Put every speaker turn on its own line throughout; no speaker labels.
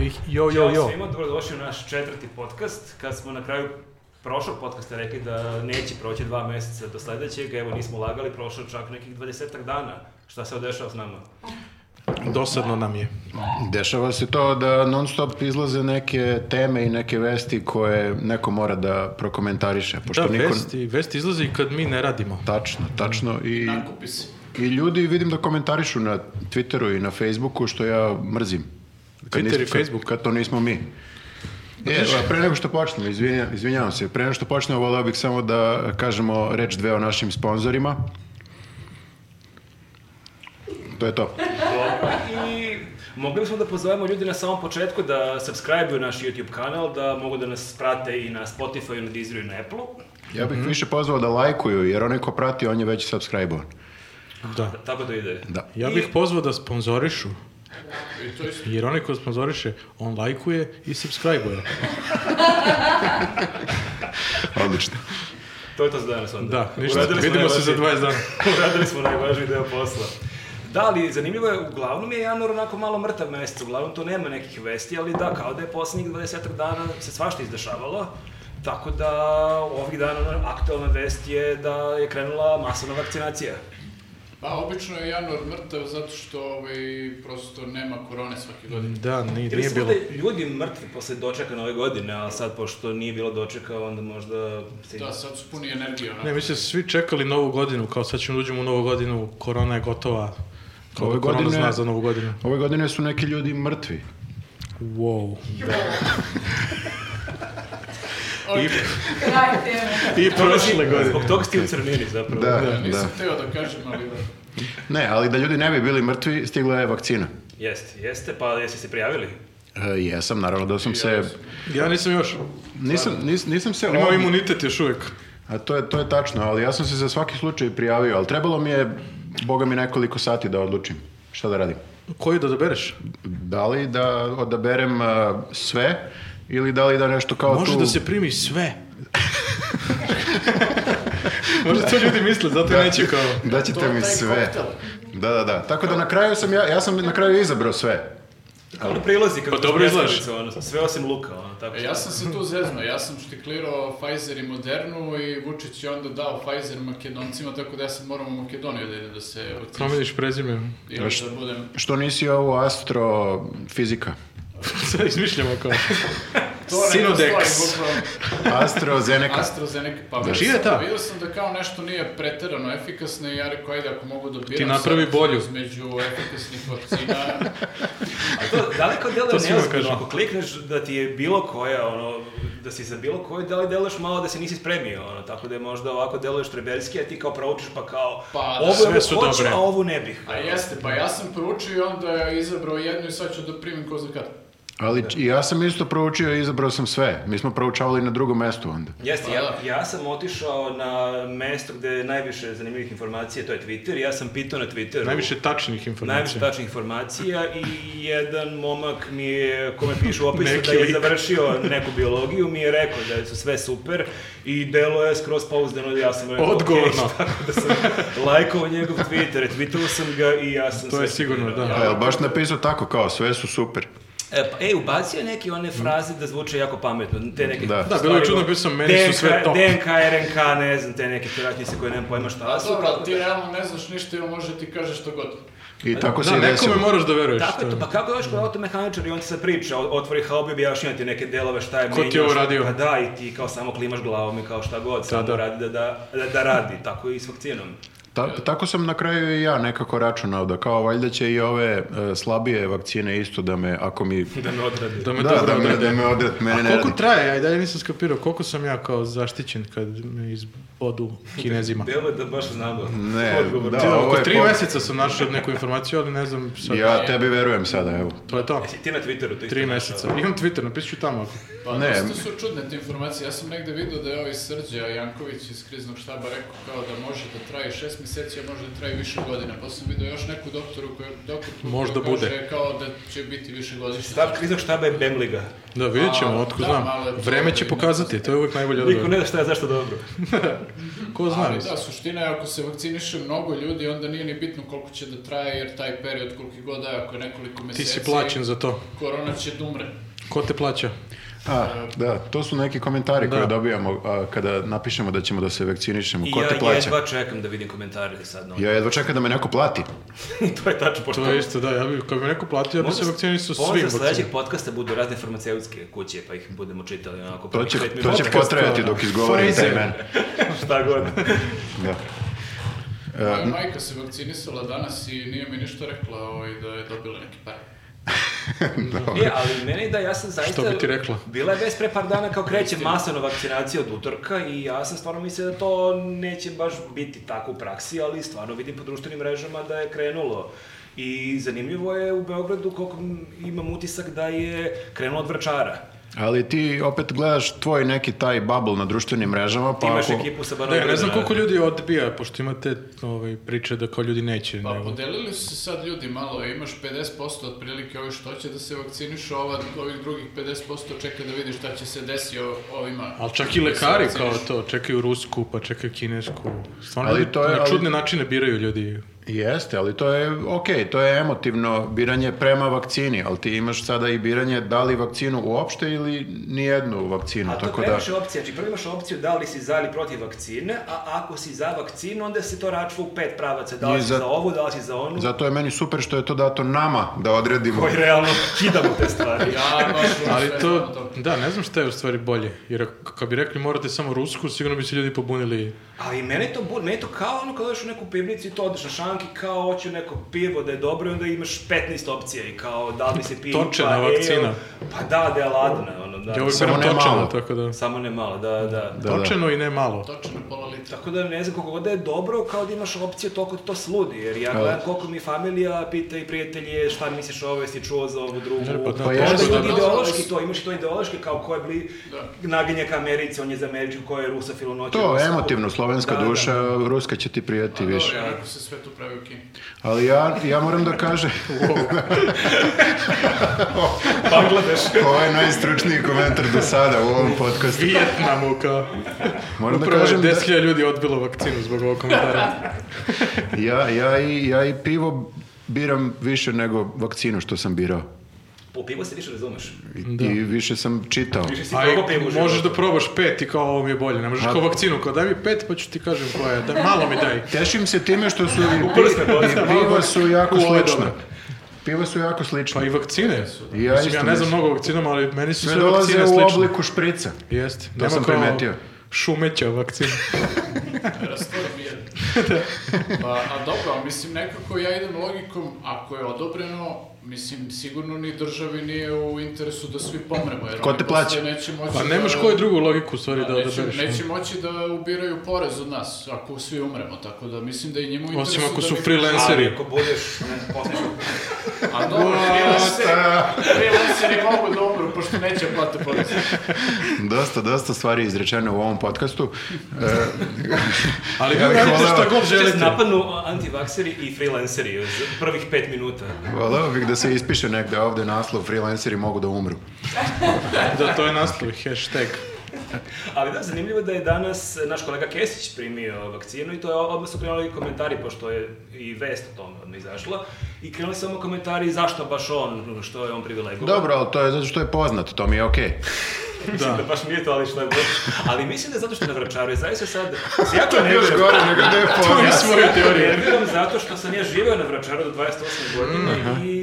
ih. Jo, jo,
Ćao
jo.
svima, dobrodošli u naš četvrti podcast. Kad smo na kraju prošlog podcasta rekli da neće proći dva meseca do sledećeg, evo nismo lagali, prošlo je čak nekih 20 dana. Šta se odešava s nama?
Dosadno nam je.
Dešava se to da non stop izlaze neke teme i neke vesti koje neko mora da prokomentariše. Pošto
Da,
niko...
vesti, Da. vesti izlazi i kad mi ne radimo.
Tačno, tačno. I,
Nakupi se.
I ljudi vidim da komentarišu na Twitteru i na Facebooku, što ja mrzim.
Twitter i
kad-
Facebook. Da
Kad to nismo mi. E, a pre nego što počnemo, izvinja, izvinjavam se, pre nego što počnemo, volao bih samo da kažemo reč dve o našim sponzorima. To je to.
Dobro, i mogli smo da pozovemo ljudi na samom početku da subscribe-uju naš YouTube kanal, da mogu da nas prate i na Spotify, i na Deezeru i na Apple-u.
Ja bih više pozvao da lajkuju, jer onaj ko prati, on je već subscribe-ovan.
Da.
Tako da ide.
Da.
Ja bih pozvao da sponzorišu,
I to isto.
jer onaj ko sponzoriše, on lajkuje i subscribe-uje.
Odlično.
To je to za danas onda.
Da, ništa,
Uradili smo
vidimo se za 20
najvažnije.
dana.
Uradili smo najvažniji deo posla. Da, ali zanimljivo je, uglavnom je januar onako malo mrtav mesec, uglavnom tu nema nekih vesti, ali da, kao da je poslednjih 20 dana se svašta izdešavalo. Tako da ovih dana ona aktualna vest je da je krenula masovna vakcinacija.
Pa, obično je januar mrtav zato što ovaj, prosto nema korone svake godine.
Da, ni,
Ili
nije
smo
bilo.
da je ljudi mrtvi posle dočeka nove godine, a sad pošto nije bilo dočeka, onda možda... Se...
Da, sad su puni energije, onako.
Mm. Ne, mi se svi čekali novu godinu, kao sad ćemo da uđemo u novu godinu, korona je gotova. Kao
Ove
da korona
godine-
zna za novu godinu.
Ove godine su neki ljudi mrtvi.
Wow. Da.
Okej,
Kraj teme.
I prošle godine.
Zbog toga ste u crnini zapravo.
Da, da.
nisam teo da kažem, ali da.
Ne, ali da ljudi ne bi bili mrtvi, stigla je vakcina.
Jeste, jeste, pa jeste se prijavili?
E, jesam, naravno, da sam se...
Ja nisam još.
Nisam, nis, nisam se...
Imam
ovdje-
imunitet još uvek.
A to je, to je tačno, ali ja sam se za svaki slučaj prijavio, ali trebalo mi je, boga mi, nekoliko sati da odlučim. Šta da radim?
Koju da dobereš?
Da li da odaberem a, sve ili da li da nešto kao
Može
tu...
da se primi sve. Možda to ljudi misle, zato i neću kao...
Daćete
To je
Da mi
taj
sve.
koktel.
Da, da, da. Tako da na kraju sam ja, ja sam na kraju izabrao sve.
Ono prilazi kako
Pa dobro izlaš.
smjestilica, Ono, sve osim luka, ono, tako
E, ja sam se tu zeznuo, ja sam štiklirao Pfizer i Modernu i Vučić je onda dao Pfizer makedoncima, tako da ja sad moram u Makedoniju da idem da se vakcinišem.
Promeniš prezime.
Ili da budem...
Što nisi ovo astrofizika?
Sad izmišljamo kao...
To ne
Sinodex.
postoji, bukvalno.
AstroZeneca.
AstraZeneca, pa
Da.
vidio
Čija je
sam-
ta?
Vidio sam da kao nešto nije preterano efikasno i ja rekao, ajde, ako mogu da biram
Ti napravi bolju.
između efikasnih vakcina,
A to, da li kao
To
deluje
svima
neozbiljno,
kažem.
ako klikneš da ti je bilo koja, ono, da si za bilo koju, da li deluješ malo da se nisi spremio, ono, tako da je možda ovako deluješ trebeljski, a ti kao proučiš pa kao,
Pa,
ovu
sve
evo
su
hoću,
dobre.
a ovu ne bih.
a jeste, pa ja sam proučio i onda izabrao jednu i sad ću da primim ko zna kad.
Ali i ja sam isto proučio i izabrao sam sve. Mi smo proučavali na drugom mestu onda.
Jeste,
Pa
ja,
da.
ja sam otišao na mesto gde je najviše zanimljivih informacija, to je Twitter, ja sam pitao na Twitteru.
Najviše tačnih informacija.
Najviše tačnih informacija i jedan momak mi je, kome piše u opisu
Neki
da je
lik.
završio neku biologiju, mi je rekao da su sve super i delo je skroz pouzdano, da ja sam rekao
Odgovorno.
"Ok", tako da sam lajkao njegov Twitter, tweetuo sam ga i ja sam
To je
sve
sigurno,
skipirao.
da.
A Pa jel baš napisao tako kao, sve su super.
E, pa, ej, ubacio je neke one fraze da zvuče jako pametno, te neke
Da. Da,
bilo je
stvari,
čudno,
ono,
bio sam, meni su sve
DNK,
top.
DNK, RNK, ne znam, te neke teratnice koje nemam pojma šta
A
su.
Pa dobro,
tako
ali ti
da-
realno ne znaš ništa ili može ti kaže što god.
I tako se
Da,
i desilo.
nekome moraš da veruješ.
Tako je to, pa kako je još kod automehaničar i on ti sad priča, o- otvori hub i objašnjava ti neke delove šta je
Ko ti je
menjao,
ovo
šta-
radio?
Pa da, i ti kao samo klimaš glavom i kao šta god, samo
da.
radi da, da, da, da radi, tako i s vakcinom.
Ta- tako sam na kraju i ja nekako računao da kao valjda će i ove e, slabije vakcine isto da me, ako mi...
Da me odradi.
Da me
Da,
dobro
da, me,
odrede.
da me odret, mene
A
ne
koliko
radi.
traje? Ja i dalje nisam skapirao koliko sam ja kao zaštićen kad me izbodu kinezima.
Delo je da baš znamo.
Ne,
Odgovor.
da,
Ti-
ovo
Oko
je
tri
po-
meseca sam našao neku informaciju, ali ne znam sad.
Ja tebi verujem sada, evo.
To je to.
Jesi ti na Twitteru to isto
Tri
našao?
meseca. Imam Twitter, napisat ću tamo. ako-
Pa
Ne.
ne. dosta su čudne te informacije. Ja sam negde vidio da je ovaj Srđa Janković iz kriznog štaba rekao kao da može da traje šest meseci, a možda traju više godina. Pa sam vidio još neku doktoru koja, doktorku
Možda
koja kaže
bude.
kao da će biti više godišnje.
Stav kriznog štaba je Bem Liga.
Da, vidjet ćemo,
A,
otko
da,
znam.
malo je to
Vreme će
i-
pokazati, to je uvijek najbolje
Niko
odgovor.
ne da šta je zašto dobro.
Ko zna,
Ali
mislim.
da, suština je ako se vakciniše mnogo ljudi, onda nije ni bitno koliko će da traje, jer taj period koliki god da je, ako je nekoliko
ti
meseci,
si plaćen za to.
korona će da umre.
Ko te plaća?
A, da, to su neki komentari
Da.
koje dobijamo a, kada napišemo da ćemo da se vakcinišemo.
I
Ko te
ja
plaća?
jedva čekam da vidim komentare sad. No.
Ja jedva čekam da me neko plati.
I to je tačno pošto.
To je isto, da, ja bi, kad bi neko platio, ja bi se vakcinio sa svim
Možda sledećeg
vakcinima.
podcasta budu razne farmaceutske kuće, pa ih budemo čitali onako.
To
prvih
će,
pet
to
minuta.
će potrajati dok izgovorim taj
Pfizer.
men.
Šta god.
Da.
E,
Moja majka se vakcinisala danas i nije mi ništa rekla ovaj, da je dobila neki par.
E, ali meni da, ja sam zaista...
Što bi ti rekla?
Bila je vez pre par dana kao kreće masovna vakcinacija od utorka i ja sam stvarno mislio da to neće baš biti tako u praksi, ali stvarno vidim po društvenim mrežama da je krenulo. I zanimljivo je u Beogradu, koliko m- imam utisak da je krenulo od vračara.
Ali ti opet gledaš tvoj neki taj bubble na društvenim mrežama,
Ti
pa
imaš
ako...
ekipu sa
Da,
Banovina.
ja ne znam koliko ljudi odbija, pošto imate ovaj, priče da kao ljudi neće.
Pa
nego-
podelili su se sad ljudi malo, imaš 50% otprilike ovi što će da se vakcinišu, ova, ovih drugih 50% čeka da vidi šta će se desi o- ovima.
Ali čak i
koji se
lekari kao
vakcinišu.
to, čekaju rusku, pa čekaju kinesku. Stvarno,
Ali
ljudi
to je-
na
ali-
čudne načine biraju ljudi.
Jeste, ali to je okej, to je emotivno biranje prema vakcini, ali ti imaš sada i biranje da li vakcinu uopšte ili nijednu vakcinu,
A to
tako
je
da...
previše opcija, znači prvo imaš opciju da li si za ili protiv vakcine, a ako si za vakcinu, onda se to račva u pet pravaca, da li
I
si
za-
za ovu, da li si za onu,
Zato je meni super što je to dato nama da odredimo.
koji realno kidamo te stvari.
Ja, baš,
Ali
baš ne znam
to, da, ne znam šta je u stvari bolje. Jer ako- kad bi rekli morate samo rusku, sigurno bi se ljudi pobunili.
Ali mene to, bu- mene to kao ono kada odeš u neku pivnicu i to odeš na šanki, kao hoću neko pivo da je dobro i onda imaš 15 opcija i kao da li se pivo,
Točena
pa ale,
vakcina.
pa da, da je ladna, ono, da.
Ja uvijek
Samo
biram
ne
točeno,
malo.
tako da...
Samo ne malo, da, da.
Da, da.
Točeno i ne malo.
Točno pola litra.
Tako da ne znam koliko god da je dobro, kao da imaš opciju toliko da to sludi, jer ja gledam koliko mi familija pita i prijatelje šta misliš o ovoj, jesi čuo za ovu drugu.
Ne, pa da,
Pa
Možda
jeste,
ljudi
da.
ideološki to, imaš i to ideološki kao ko je bli
Da.
naginje ka Americi, on je za Američku, ko je rusofil, noć.
To, emotivno, slovenska
Da,
duša, ruska će ti prijati
Dobro,
više.
ja rekao se sve tu pravi u Kini.
Ali ja, ja moram da kažem,
da. Bangladeš.
ovo je najstručniji komentar do sada u ovom podcastu.
Vijetnamu kao...
Moram da
Upravo je
kažem da
10.000 ljudi odbilo vakcinu zbog ovog komentara.
ja, ja, i, ja i pivo biram više nego vakcinu što sam birao.
Po pivo se više razumeš. Pa
I,
Da.
i više sam čitao.
Više si
A
probao pivo u
i možeš
životu.
da probaš pet i kao ovo mi je bolje. Ne možeš
A-
kao vakcinu, kao daj mi pet pa ću ti kažem koja je. Daj, malo mi daj.
Tešim se time što su i,
Upili ste
pi- i
dosta,
piva su jako
U, ovo je
slična.
dobro.
Piva su jako
Pa
slična.
i vakcine.
I ja
Mislim,
isto
ja ne znam
mislim.
mnogo o vakcinama, ali meni su
Sve
sve vakcine
dolaze u
slične.
obliku šprica.
Jeste.
To sam
kao
primetio.
Šumeća vakcina.
Rastvori Da, mi je.
Da.
Pa, a dobro, ali mislim, nekako ja idem logikom, ako je odobreno, mislim, sigurno ni državi nije u interesu da svi pomremo. Jer
Ko
oni
te
posle
plaća?
Neće moći
Pa nemaš koju drugu logiku u stvari da
da neće,
odabereš.
neće moći da ubiraju porez od nas, ako svi umremo, tako da mislim da i njemu u interesu...
Osim ako
da
su
mi-
freelanceri.
Ali ako budeš, ne, postaneš
A dobro, freelanceri, freelanceri mogu da umru, pošto neće plate porez.
Dosta, dosta stvari izrečene u ovom podcastu.
Ali
Ja
vi
bih
radite
voleo- da
šta god
Želite. Čest
želite.
napadnu antivakseri i freelanceri uz prvih pet minuta.
Voleo bih da se ispiše negde ovde naslov freelanceri mogu da umru.
Da, to je naslov, hashtag.
Ali da, zanimljivo je da je danas naš kolega Kesić primio vakcinu i to je odmah su krenuli komentari, pošto je i vest o tome odmah izašla. I krenuli su samo komentari zašto baš on, što je on privilegovan.
Dobro, ali to je zato što je poznat, to mi je okej.
Mislim da baš nije to, ali što je baš. Ali mislim da je zato što je na vračaru, je zaista sad, se jako ne
Još gore nego da je poznat.
Svoju teoriju.
nerviram zato što sam ja živeo na vračaru do 28 godina i...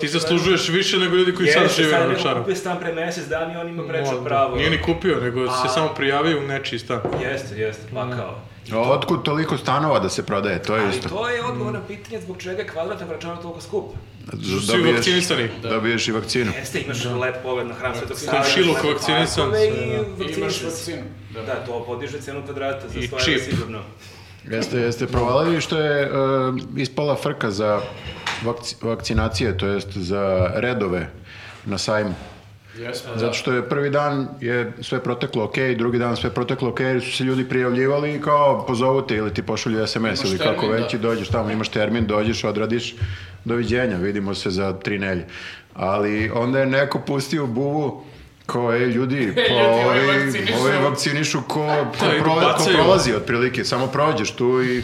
Ti zaslužuješ više nego ljudi koji sad
Jeste,
žive na
sad neko
Vračaru.
kupio stan pre mesec dana i on ima preče
Možda.
pravo.
Nije ni kupio, nego
A.
se samo prijavio u nečiji stan.
Jeste, jeste, pa kao.
Mm.
A Otkud toliko stanova da se prodaje, to je
Ali
isto.
to je odgovor na pitanje zbog čega je kvadrat na vračaru toliko skup.
Svi vakcinisani.
Da dobiješ i vakcinu.
Jeste, imaš lep pogled na hram Svetog Save.
Komšiluk
imaš lepe
Da. vakcinisan,
parkove
sve,
I
da.
I imaš
vakcinisan si.
vakcinu. Da.
Da, to podiže cenu kvadrata za
I
100
čip.
evra sigurno.
Jeste, jeste. Provalili što je e, ispala frka za vakci- vakcinacije, to jest za redove na sajmu.
Jesmo.
Zato što je prvi dan je sve proteklo ok, drugi dan sve proteklo ok, jer su se ljudi prijavljivali i kao pozovu te ili ti pošalju SMS ili kako
termin,
već
da.
i dođeš tamo, imaš termin, dođeš, odradiš, doviđenja, vidimo se za tri nelje. Ali onda je neko pustio buvu ko je ljudi, pa
ljudi, ovi
ovi,
vakcinišu."
ovi vakcinišu ko, ko,
Da, i
pro- ko
bacaju.
prolazi otprilike, samo prođeš tu i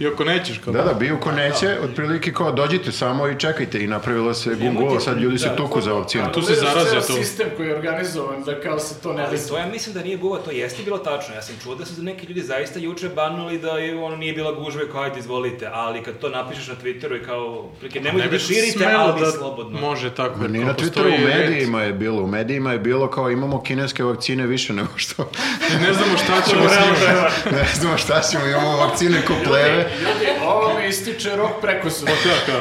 I ako nećeš kao...
da, da, bio ko neće, otprilike kao dođite samo i čekajte i napravilo se gungulo, sad ljudi se
da,
tuku za vakcinu.
tu se
Gledaš
zaraze
ceo
tu.
sistem koji je organizovan da kao se to ne
Ali
desi.
to ja mislim da nije buva, to jeste bilo tačno. Ja sam čuo da su neki ljudi zaista juče banuli da je, ono nije bila gužve, kao ajde izvolite, ali kad to napišeš na Twitteru i kao, prilike, nemojte da
bi
širite,
smelo
ali
da
slobodno.
Može tako.
Pa
jer
Ni
kao
na Twitteru,
postoji
u
red.
medijima je bilo, u medijima je bilo kao imamo kineske vakcine više nego što,
Ne znamo šta ćemo s njima.
ne znamo šta ćemo, imamo vakcine ko pleve.
Ljudi, ovo mi ističe rok preko su.
Da, kao,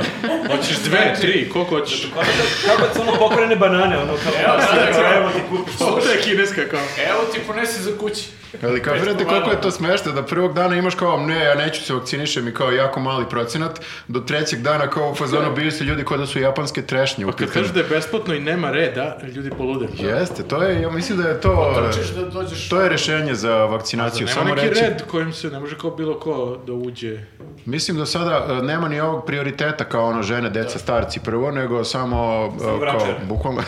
Hoćeš dve, tri, koliko hoćeš?
Kako da, kako da su ono pokorene banane, ono kao,
Evo, da,
kao,
da.
evo ti kupiš.
Ovo je kineska kao.
Evo ti ponesi za kući.
Ali kao, vjerujete koliko je to smešno da prvog dana imaš kao, ne, ja neću se vakcinišem i kao jako mali procenat, do trećeg dana kao u fazonu bili su ljudi kao da su japanske trešnje u
Kad kažeš da je besplatno i nema reda, ljudi poludeli.
Jeste, to je, ja mislim da je to,
Trčiš da dođeš.
to je rešenje za vakcinaciju.
Pa Nema
Samo
neki
reći,
red kojim se ne može kao bilo ko da uđe.
Mislim da sada e, nema ni ovog prioriteta kao ono žene, deca, starci prvo, nego samo, e, kao,
vračare.
bukvalno,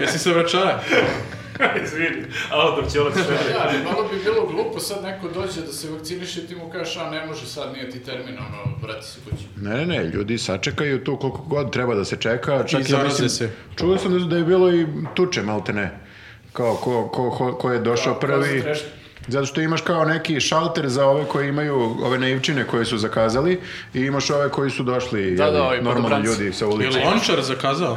Jesi se vračara?
Izvini, Aldor Ćolac.
Ja, Da, ali malo bi bilo glupo sad neko dođe da se vakciniše i ti mu kažeš, a ne može sad, nije ti termin, ono, vrati se kući.
Ne, ne, ne, ljudi sačekaju tu koliko god treba da se čeka. Čak
I
ja
zaraze
mislim,
se.
Čuo sam da- da je bilo i tuče, malte ne. Kao ko, ko, ko, ko je došao
Kao, Da, ko
prvi.
za trešnje.
Zato što imaš kao neki šalter za ove koji imaju ove naivčine koje su zakazali i imaš ove koji su došli
Da,
jeli,
da, ovi
normalni
padobranci.
ljudi sa
Je
ulice.
li Lončar zakazao?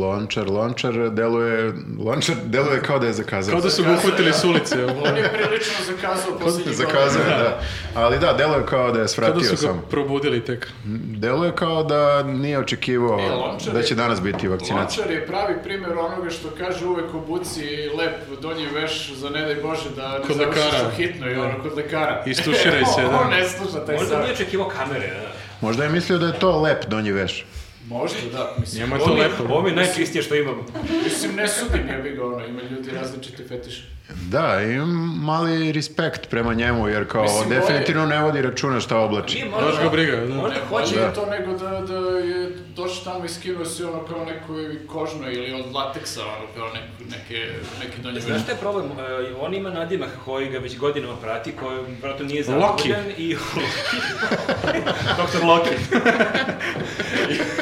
Lončar, lončar deluje, lončar deluje kao da je zakazao.
Kao da su ga uhvatili s ulice.
On je prilično zakazao posljednji
Zakazao je, da. Ali da, deluje kao da je
Kao da
svratio
su ga
samo.
probudili tek.
Deluje kao da nije očekivao
E, lončar
da
je-
će danas biti vakcinacija.
Lončar je pravi primjer onoga što kaže uvek obuci lep donji veš za ne daj Bože da ne
Kod lekara.
završiš u hitnoj, ono, kod lekara.
Istuširaj se, da.
On ne sluša taj
Možda
savjet.
nije očekivao kamere, da.
Možda je mislio da je to lep donji veš.
Možda, da, mislim.
Njemu je to
Ovo mi,
lepo.
ovo mi je najčistije što imam.
Mislim, ne sudim, ja bi ga, ono, ima ljudi različite fetiše.
Da, imam mali respekt prema njemu, jer kao
Mislim,
definitivno ne vodi računa šta oblači.
Nije
Baš ga briga, da.
Znači, Možda
Ne, hoće
Da.
da. to nego da, da je došao tamo i skinuo si ono kao nekoj kožnoj ili od lateksa, ono kao nek, neke, neki donji veš.
Znaš šta je problem? E, on ima nadimak koji ga već godinama prati, koji vratno nije
Loki.
zadovoljan i... Doktor Loki.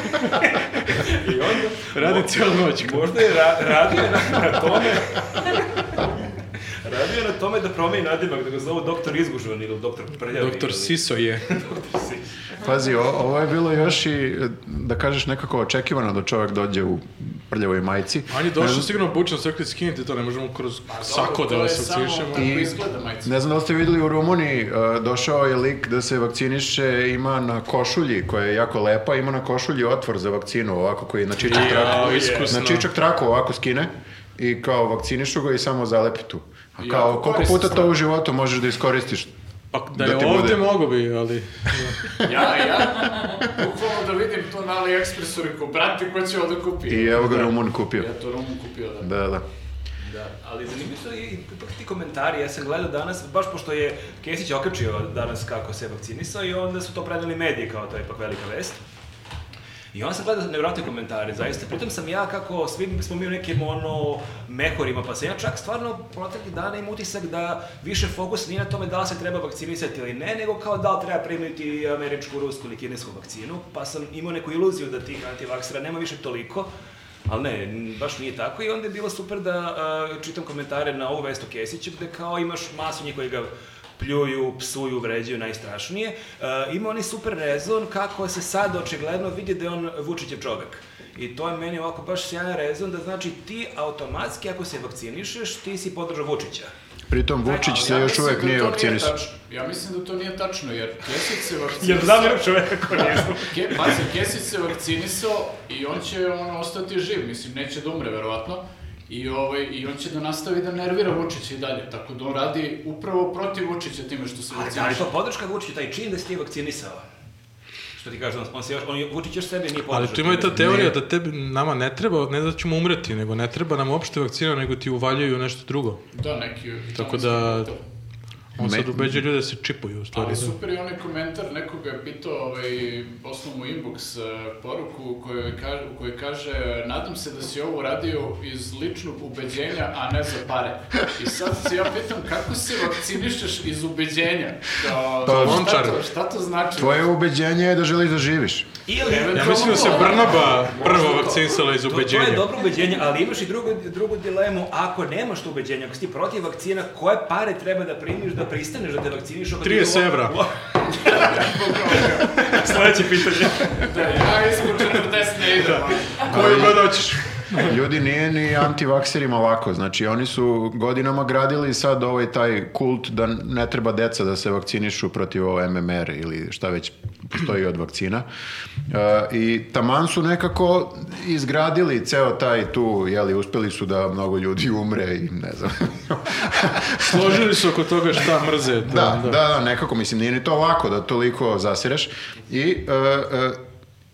I onda...
Radi cijelu noć.
Možda je ra radio na, na tome... radio je na tome da promeni nadimak, da ga zovu doktor Izgužvan ili doktor Prljavi.
Doktor
ili-
Siso je.
Doktor Sis.
Pazi, o- ovo je bilo još i, e, da kažeš, nekako očekivano da čovjek dođe u prljavoj majici.
On je došao sigurno obučen, sve rekli skinite to, ne možemo kroz sako da
Dobro,
vas
To je samo
odsvišemo.
tako
I-
izgleda, majica.
Ne znam da li ste vidjeli u Rumuniji, e, došao je lik da se vakciniše, ima na košulji, koja je jako lepa, ima na košulji otvor za vakcinu, ovako koji je na čičak traku.
Jao, iskusno.
Na čičak traku ovako skine i kao vakcinišu ga i samo zalepi tu. A kao,
Jako
koliko puta
korisno.
to u životu možeš da iskoristiš?
Pa da
Da
je
ti
ovdje
bude.
mogo bi, ali...
Ja, ja, bukvalno da vidim to na AliExpressu, rekao, brate, ko će ovdje kupi?
I evo ga Rumun kupio.
Ja to Rumun kupio, da.
Da, da.
Da, ali zanimljivi su i ipak ti komentari, ja sam gledao danas, baš pošto je Kesić okačio danas kako se vakcinisao i onda su to preneli mediji kao to je ipak velika vest. I onda sam gledao nevjerojatne komentare, zaista. Pritom sam ja kako, svi smo mi u nekim ono mehorima, pa sam ja čak stvarno proteklih dana imam utisak da više fokus nije na tome da li se treba vakcinisati ili ne, nego kao da li treba primiti američku, rusku ili kinesku vakcinu, pa sam imao neku iluziju da tih antivaksera nema više toliko, ali ne, n- baš nije tako i onda je bilo super da a, čitam komentare na ovu vestu Kesiću gde kao imaš masu njih koji ga pljuju, psuju, vređaju najstrašnije. E, ima onaj super rezon kako se sad očigledno vidi da je on Vučićev čovek. I to je meni ovako baš sjajan rezon da znači ti automatski ako se vakcinišeš ti si podržao Vučića.
Pritom Vučić se još
mislim
uvek
da
nije
to
vakcinisao.
tačno. Ja mislim da to nije tačno, jer Kesić se
Jer
vakcinisao...
znam čoveka ko nije
Ke, pazi, Kesić se vakcinisao i on će ono, ostati živ, mislim, neće da umre, verovatno. I, ovaj, I on će da nastavi da nervira Vučića i dalje, tako da on radi upravo protiv Vučića time što se
Ali da li je
vakciniše.
to podrška Vučiću, taj čin da si ti vakcinisao? Što ti kažem, on se još, on je, Vučić još sebe nije podržao.
Ali tu ima i ta
time.
teorija da tebi, nama ne treba, ne da ćemo umreti, nego ne treba nam uopšte vakcina, nego ti uvaljuju nešto drugo.
Da, neki...
Tako da- On
Me-
sad ubeđuje ljude da se čipuju,
Pa
u stvari.
Ali super je onaj komentar, nekoga je pitao, ovaj, poslao mu inbox eh, poruku u kojoj kaže, u kojoj kaže nadam se da si ovo uradio iz ličnog ubeđenja, a ne za pare. I sad se ja pitam kako se vakcinišeš iz ubeđenja? Kao,
Pa,
šta,
Lončar.
to, šta to znači?
Tvoje ubeđenje je da želiš da živiš.
Ili,
Eventualno-
Ja mislim da se Brnaba prvo vakcinisala iz
To, to je
ubeđenja.
dobro ubeđenje, ali imaš i drugu, drugu dilemu. Ako nemaš to ubeđenje, ako si ti protiv vakcina, koje pare treba da primiš da pristaneš da te vakciniš?
30 evra.
Sledeće pitanje.
Da, ja ispod 40 ne idem. ali-
Koju god hoćeš.
Ljudi nije ni antivakserima lako, znači oni su godinama gradili sad ovaj taj kult da ne treba deca da se vakcinišu protiv ovo MMR ili šta već postoji od vakcina. E, I taman su nekako izgradili ceo taj tu, jeli, uspeli su da mnogo ljudi umre i ne znam.
Složili su oko toga šta mrze.
da, da, da, nekako, mislim, nije ni to lako da toliko zasireš. I e, e,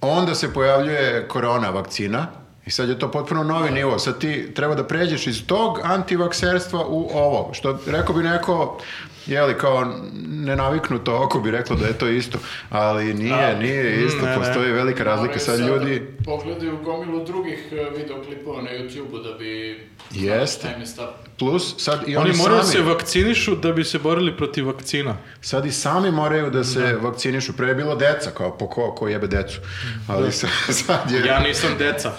onda se pojavljuje korona vakcina i sad je to potpuno novi nivo. Sad ti treba da pređeš iz tog antivakserstva u ovo, što rekao bi neko, jeli, kao nenaviknuto oko bi reklo da je to isto, ali nije, nije isto,
Da. Mm, ne, ne.
postoji velika razlika.
Moraju
Sad ljudi...
da Pogledaju gomilu drugih eh, videoklipova na YouTube-u da bi...
Jeste.
Taj mi stav.
Plus, sad i oni,
Oni moraju da
sami...
se vakcinišu da bi se borili protiv vakcina.
Sad i sami moraju da se vakcinišu. Pre je bilo deca, kao po ko, ko jebe decu. Ali sa- sad je...
Da. Ja nisam deca.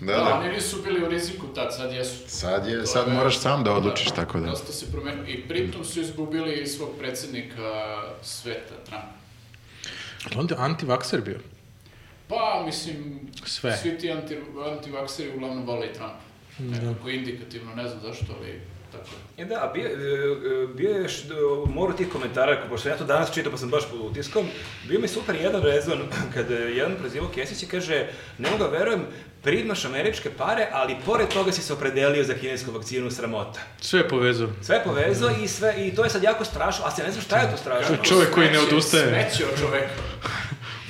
Da,
Da,
da.
oni nisu bili u riziku tad, sad jesu.
Sad je,
To
sad
je-
moraš sam da odlučiš, tako da.
Dosta se promenilo. I pritom su izgubili i svog predsednika sveta, Trumpa.
Onda je antivakser bio.
Pa, mislim,
Sve.
svi ti anti, antivakseri uglavnom vole i Trumpa.
Da.
Nekako indikativno, ne znam zašto, ali tako je.
E da, a bio, e, e, bio je još e, moru tih komentara, pošto sam ja to danas čitao pa sam baš pod utiskom, bio mi je super jedan rezon kada je jedan prozivao Kesić i kaže, ne mogu da verujem, primaš američke pare, ali pored toga si se opredelio za kinesku vakcinu sramota.
Sve je povezao.
Sve je povezao i sve, i to je sad jako strašno, a se ne znam šta je to strašno.
Ču- Čovjek koji ne
Smeće-
odustaje.
Smeće od čoveka.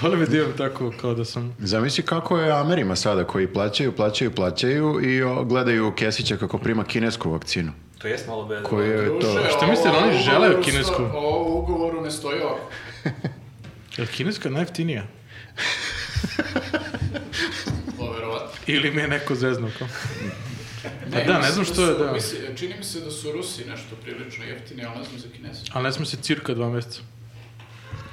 Volim da imam tako kao da sam...
Zamisli kako je Amerima sada, koji plaćaju, plaćaju, plaćaju i o, gledaju Kesića kako prima kinesku vakcinu.
To jest malo bezno.
Koji je to?
Druže,
Šta mislite,
ovo
da oni
u
žele
ugovoru
kinesku?
sto- Ovo u ugovoru ne stoji ovako.
Je li kineska najjeftinija?
Ovo Pa, verovatno.
Ili mi je neko zeznuo kao? Pa da, ne znam što je,
su-
da.
misli- čini mi se da su Rusi nešto prilično jeftini, ali ne znam za Kineze.
Ali ne smo se cirka dva meseca.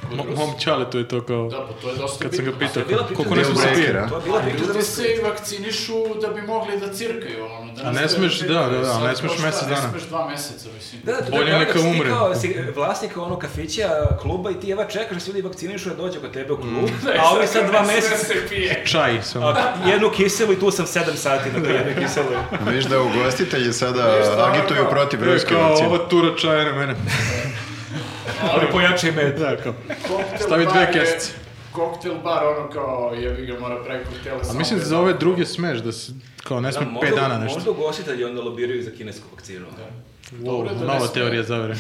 Kod
Mo,
Rusa?
mom čale to je to kao...
Da, pa to je dosta
Kad sam ga
bitno.
pitao,
To je bila priča
koliko
za
ne smo
Deus
se
Rusiju.
Ex.
pira.
To je bila
A
priča za
ljudi
Rusiju.
se i vakcinišu da bi mogli da cirkaju, ono, da
A ne
nastave
smeš,
cirkaju.
da, da, da,
Sad
ne smeš
kao šta,
mesec dana.
Ne smeš dva meseca, mislim.
Da, da, to je
Bolje
kao
neka
kad si ti
umre.
Kao si vlasnik ono kafića, kluba i ti jeva čekaš da se ljudi vakcinišu da dođe kod tebe u klub,
Mm.
a ovi sad dva meseca
se pije.
Čaj samo.
a, jednu kiselu i tu sam sedam sati na toj jednoj kiseli.
Viš da ugostitelji sada
Viš da,
agituju
ono,
protiv
To je
ruske
kao
vakcine.
ova tura čaja na mene.
Ali pojačaj med.
Da, kao.
Koktel
Stavi
bar
dve
je-
kesice.
Koktel bar, ono kao, jebi ga, mora preko koktela.
A
samo
mislim da
jedan.
za ove druge smeš da se kao ne smem 5 dana nešto.
Možda ugostitelji onda lobiraju za kinesku vakcinu.
Dobro je
Wow,
da ne
nova
sme-
teorija zavere.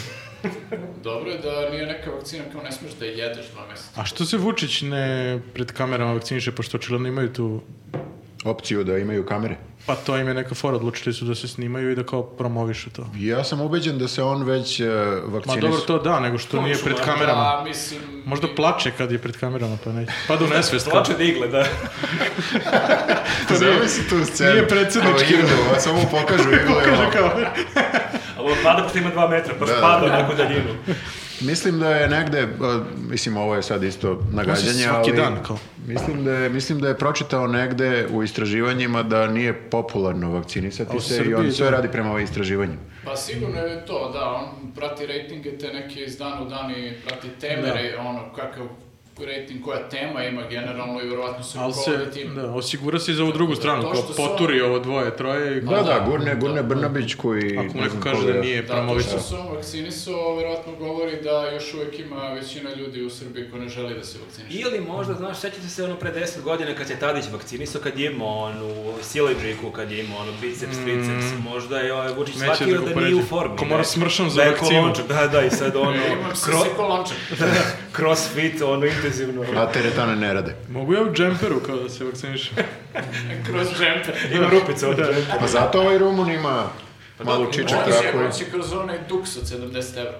Dobro je da nije neka vakcina kao ne smeš da jedeš dva meseca.
A što se Vučić ne pred kamerama vakciniše, pošto očigledno imaju tu...
Opciju da imaju kamere.
Pa to im je neka fora, odlučili su da se snimaju i da kao promovišu to.
Ja sam ubeđen da se on već e,
Ma
vakcinis-
dobro to da, nego što nije pred kamerama.
Da, mislim...
Možda plače kad je pred kamerama, pa neće. Pada u nesvest. kao.
Slače digle, da.
Zamisli tu scenu.
nije predsjednički.
Evo, iglu, samo mu pokažu iglu. i
Kaže
ovo.
kao,
Ali on pada pošto ima dva metra, pa
Da,
spada
da.
onako u daljinu.
Mislim da je negde, a, mislim ovo je sad isto nagađanje,
svaki
ali
dan, kao.
Mislim, da je, mislim da je pročitao negde u istraživanjima da nije popularno
A
vakcinisati
u
se i
Srbiji,
on sve
da.
radi prema istraživanjima.
Pa sigurno je to, da, on prati rejtinge te neke iz dana u dan i prati teme,
Da.
re- ono, kakav rating, koja tema ima generalno i verovatno se
Ali
rukovodi
se,
tim.
da, osigura se i za ovu drugu
da,
stranu,
to
kao
što su
poturi ovo dvoje, troje i
Da,
da,
da, gurne, gurne Brnabić koji...
ako mu
ne
neko
znam
kaže
koga
da
je.
nije
Da, to što
promovisan.
se on vakcinisao, verovatno govori da još uvek ima većina ljudi u Srbiji ko ne želi da se vakciniše.
Ili možda, znaš, sećate se ono pre 10 godina kad se Tadić vakcinisao, kad je imao onu sileđiku, kad je imao ono biceps, triceps, možda je ovaj Vučić
Mhm. Neće da ga
shvatio da, nije
upoređuje.
u formi.
Ko mora
da-
smršan za
da je
vakcinu.
kolončar, Da, da, i sad ono,
E, Imam se
kro,
sve kolančak.
crossfit, ono intenzivno.
A teretane ne rade.
Mogu ja u džemperu kao da se vakcinišem?
Kroz džemper.
Ima rupice
Da.
od džempa.
Pa zato ovaj Rumun ima
Pa
malo čičak
Oni će,
tako.
on će da kroz onaj duks od 70 evra.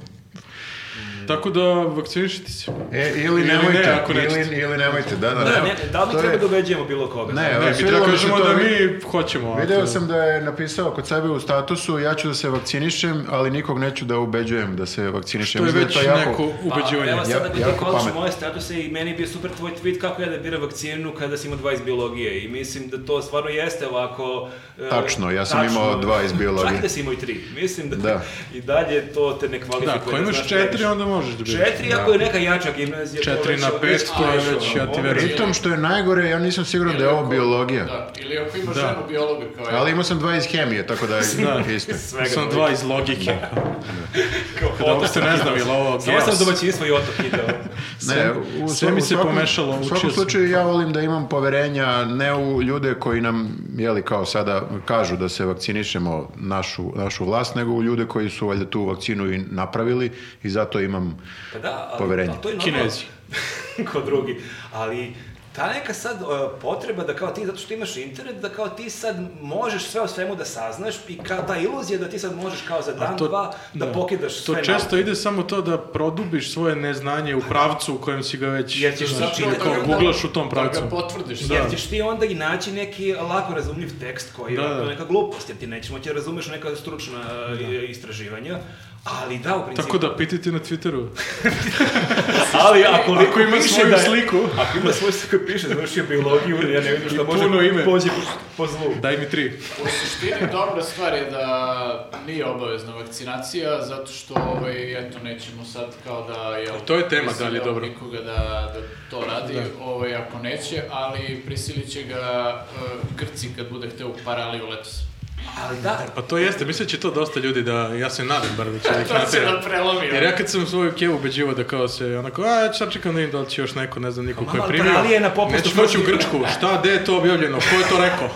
Mm.
Tako da vakcinišite se.
E, ili nemojte,
pa. ne, ako nećete.
ili, ili nemojte, da, da,
Da,
da.
ne, da li
To je-
treba da ubeđujemo bilo koga?
Ne,
Ne,
ne
mi da kažemo da mi hoćemo. a to-
Video sam da je napisao kod sebe u statusu ja ću da se vakcinišem, ali nikog neću da ubeđujem da se vakcinišem.
To je
Mislim
već
da je
neko
Pa,
ubeđivanje.
Evo sad
Ja-
da bi ti
jako
kolaš
pametno.
moje statuse i meni je bio super tvoj tweet kako ja da biram vakcinu kada sam imao dva iz biologije i mislim da to stvarno jeste ovako... e,
Tačno, ja sam imao dva iz biologije.
Čak da si imao i tri. Mislim da,
Da.
i dalje to te ne kvalifikuje.
Da, ako imaš
Znači, znaš,
četiri,
ne-
onda možeš da biraš.
Četiri, ako je neka jača gimnazija... to
Četiri
već-
na pet,
već
to je
prešao,
već, ja ti
ono,
verujem.
Pritom što je najgore, ja nisam siguran da je ovo biologija.
Da, ili ako ima
Da.
ženu biologa kao ja.
Ali imao sam dva iz hemije, tako da je isto.
Svega da
Sam
dvojica.
dva iz logike.
Kao
Da
otok.
uopšte ne znam ili ovo
Samo
geos.
sam da domaćinstvo i otok ideo.
Ne, u,
sve mi
u
se
svakom-
pomešalo,
U
učio
svakom
sam.
slučaju ja volim da imam poverenja ne u ljude koji nam, jeli kao sada, kažu da se vakcinišemo našu, našu vlast, nego u ljude koji su valjda tu vakcinu i napravili i zato imam
Pa da, ali,
Poverenje.
ali to je normalno.
Kinezi.
Ko drugi. Ali ta neka sad e, potreba da kao ti, zato što imaš internet, da kao ti sad možeš sve o svemu da saznaš i kao ta iluzija da ti sad možeš kao za dan,
to-
dva, da,
da.
pokidaš
To
sve
često ide samo to da produbiš svoje neznanje u pravcu u kojem si ga već...
Jer ćeš
znaš,
zapravo
ili
da
Znači, kao
ga-
guglaš u tom pravcu.
Da ga potvrdiš.
Da.
Jer ćeš ti onda i naći neki lako razumljiv tekst koji
Da,
je
da.
da. neka glupost, jer ti nećemo ti razumeš neka stručna e, istraživanja, ali da, u principu.
Tako da, pitajte na Twitteru.
ali ako liko
ima
piše
svoju
da je-
sliku.
Ako ima svoju sliku, piše, završio biologiju, ja ne vidim što može da
puno ime.
pođe po zlu.
Daj mi tri.
U suštini dobra stvar je da nije obavezna vakcinacija, zato što ovaj, eto, nećemo sad kao da... Jel,
To je tema, da li je
prisiljavamo
dobro.
Nikoga da, da to radi, ovaj, ako neće, ali prisilit će ga uh, Grci kad bude hteo u paraliju letos.
Ali da,
Pa to jeste, mislim da će to dosta ljudi da, ja se nadam bar da će da ih
To se
natjera.
da prelomi.
Jer ja kad sam svoju kevu ubeđivao da kao se, onako, a ja sad čekam da vidim da li će još neko, ne znam, niko ko je
mama,
primio.
ali je na popisu
Neću moći u
smrtnih.
Grčku, šta, gde je to objavljeno, ko je to rekao?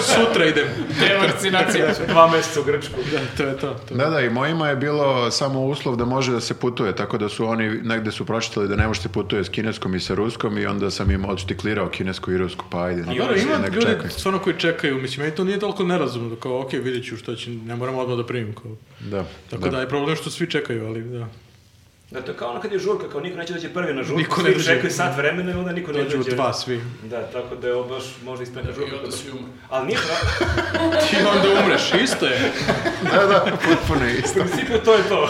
Sutra idem.
Te vakcinacije.
dva meseca u Grčku.
Da, to je to. to.
Da, da, i mojima je bilo samo uslov da može da se putuje, tako da su oni negde su pročitali da ne može se putuje s kineskom i sa ruskom i onda sam im odštiklirao kinesku i rusku, pa ajde.
A
nek-
dobro, ima
nek
ljudi
čekaju.
stvarno koji čekaju, mislim, meni to nije toliko nerazumno, da kao, okej, vidjet ću šta će, ne moram odmah da primim, kao.
Da,
Tako da, je problem što svi čekaju, ali da.
Da, to je kao ono kad je žurka, kao niko neće doći prvi na žurku,
Niko
niko
ne
ne
dođe.
čekaju sat vremena i onda niko ne
Dođu
dođe.
u dva svi.
Da, tako da je ovo baš možda ispredna žurka.
I onda svi umre.
Ali nije pravo,
Ti onda umreš, isto je.
Da, da, potpuno je isto.
u principu to je to.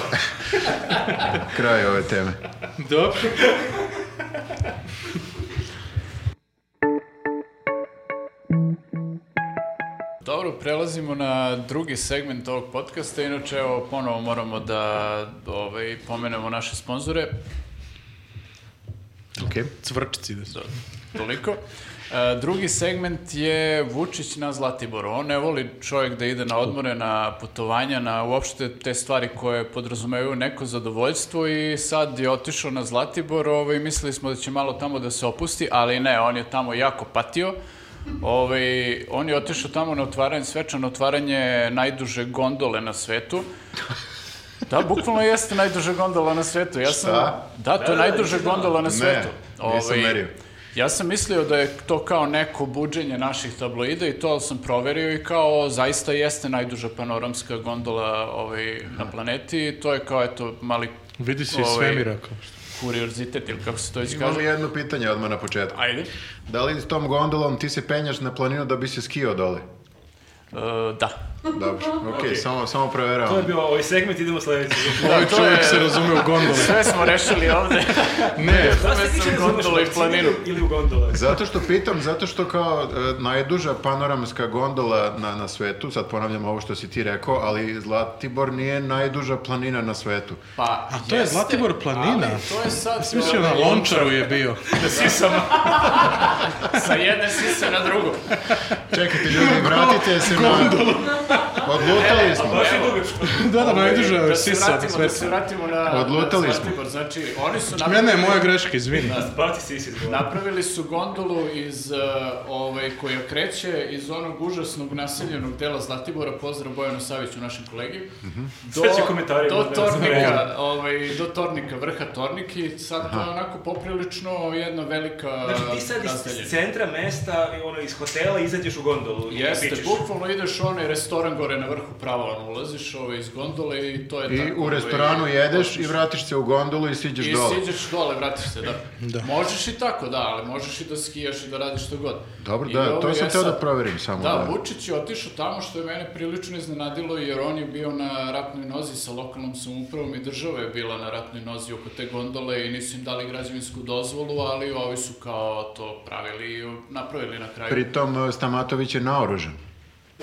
Kraj ove teme.
Dobro.
Dobro, prelazimo na drugi segment ovog podcasta. Inače, evo, ponovo moramo da ovaj, pomenemo naše sponzore.
Okej.
Cvrčci da su.
Toliko. E, drugi segment je Vučić na Zlatiboru. On ne voli čovjek da ide na odmore, na putovanja, na uopšte te stvari koje podrazumevaju neko zadovoljstvo i sad je otišao na Zlatibor ovaj, mislili smo da će malo tamo da se opusti, ali ne, on je tamo jako patio. Ovaj, on je otišao tamo na otvaranje, svečano otvaranje najduže gondole na svetu. Da, bukvalno jeste najduža gondola na svetu. Ja sam,
Šta?
Da, to je
da,
najduža
nisam znao.
gondola na
Ne,
svetu. Ovaj,
nisam merio.
Ja sam mislio da je to kao neko buđenje naših tabloida i to ali sam proverio i kao zaista jeste najduža panoramska gondola ovaj, na planeti i to je kao eto mali
Vidi se iz
Ovaj.
svemira, kao što.
kuriozitet ili kako se to već
Imam
kaže.
jedno pitanje odmah na početku.
Ajde. E,
Da li s tom gondolom ti se penjaš na planinu da bi se skio dole?
da.
Dobro, okej,
Okej.
samo, samo
To je
proveravam.
bio ovaj segment, idemo sledeći.
Ovaj
Da, to
čovjek
je-
se razume u gondole.
Sve smo rešili ovde.
Ne,
Da ste
Sve
vi
sam
će
gondola i planinu.
Ili u gondola.
Zato što pitam, zato što kao e, najduža panoramska gondola na, na svetu, sad ponavljam ovo što si ti rekao, ali Zlatibor nije najduža planina na svetu.
Pa,
A to je
jeste,
Zlatibor planina.
ali to je sad...
Mislio na lončaru je bio.
Da sisam. Sa jedne sise na drugu.
Čekajte ljudi, vratite se na... Odlutali smo.
Baš je dugačko.
da, da, najduža
Da
je
se
sisa na
vratimo- Da se
svetu.
vratimo na...
Odlutali
na
smo.
Zlatibor. Znači, oni su...
Ne,
napravili-
ne, moja greška, izvini. da
Baci se isi zbog.
Napravili su gondolu iz, eh, ovaj, koja kreće iz onog užasnog naseljenog dela Zlatibora, pozdrav Bojanu Saviću, našem kolegi, do,
Mhm. Sve će komentari,
do,
možda,
tornika, ovaj, do tornika, vrha torniki, sad to je onako poprilično jedna velika
Znači ti sad iz
naseljenja.
centra mesta, ono, iz hotela, izađeš u gondolu. da i
Jeste,
pičeš.
bukvalno ideš u onaj restoran gore na vrhu pravo, ono, ulaziš ovaj, iz gondole i to je
I
tako.
u
ovaj,
restoranu jedeš i vratiš se u gondolu i siđeš
I
dole.
siđeš dole, vratiš se, da. Možeš i tako, da, ali možeš i da skijaš i da radiš što god.
Dobro,
I
da,
ovaj,
to sam
e
teo da
sad-
proverim samo.
Da, Vučić je otišao tamo što je mene prilično iznenadilo jer on je bio na ratnoj nozi sa lokalnom samoupravom i država je bila na ratnoj nozi oko te gondole i nisu im dali građevinsku dozvolu, ali ovi su kao to pravili i napravili na kraju.
Pritom e, Stamatović je naoružan.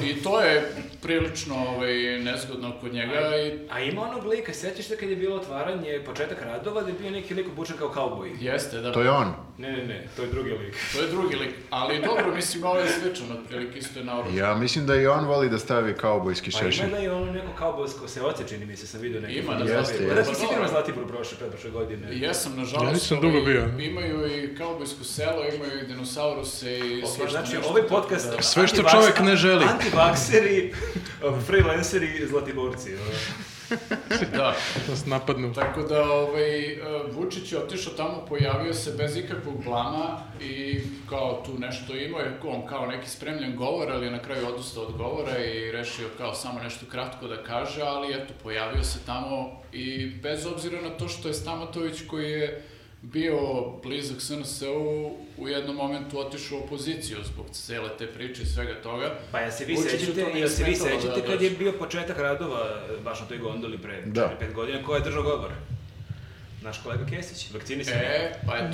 I to je prilično ovaj, nezgodno kod njega i
A ima onog lika, sećaš se kad je bilo otvaranje, početak radova, da je bio neki lik obučen kao kauboj?
jeste, da.
To je on.
Ne, ne, ne, to je drugi lik.
To je drugi lik. Ali dobro, mislim, ovo je sličan, otprilike isto je naoružan.
Ja mislim da i on voli da stavi kaubojski
Pa ima
šešir.
da i ono neko kaubojsko se oce, čini mi se, sam vidio neki.
Ima,
Jeste,
da, Zlatibor.
jeste.
Da, ti si bio na Zlatiboru prošle, pretprošle godine.
Jesam, E, nažalost.
Ja nisam
ovaj,
dugo bio.
Imaju i kaubojsko selo, imaju i dinosauruse i
Ok,
svašta
znači,
nešto,
ovaj
tako
podcast...
da-
Sve što
antivaks-
čovjek ne želi.
Antivakseri, um, freelanceri, zlatiborci. ono.
Da,
Nas napadnu.
tako da ovaj, e, Vučić je otišao tamo, pojavio se bez ikakvog plana i kao tu nešto imao, je on kao neki spremljen govor, ali je na kraju odustao od govora i rešio kao samo nešto kratko da kaže, ali eto, pojavio se tamo i bez obzira na to što je Stamatović koji je bio blizak SNS-u, u jednom momentu otišao u opoziciju zbog cele te priče i svega toga.
Pa ja se vi
Vučiću
sećate,
to nije
ja se vi
smetalo da
sećate kad je
dođe.
bio početak radova e, baš na toj gondoli pre
Da.
5 godina, ko je držao govor? Naš kolega Kesić, vakcinisan.
E, pa eto.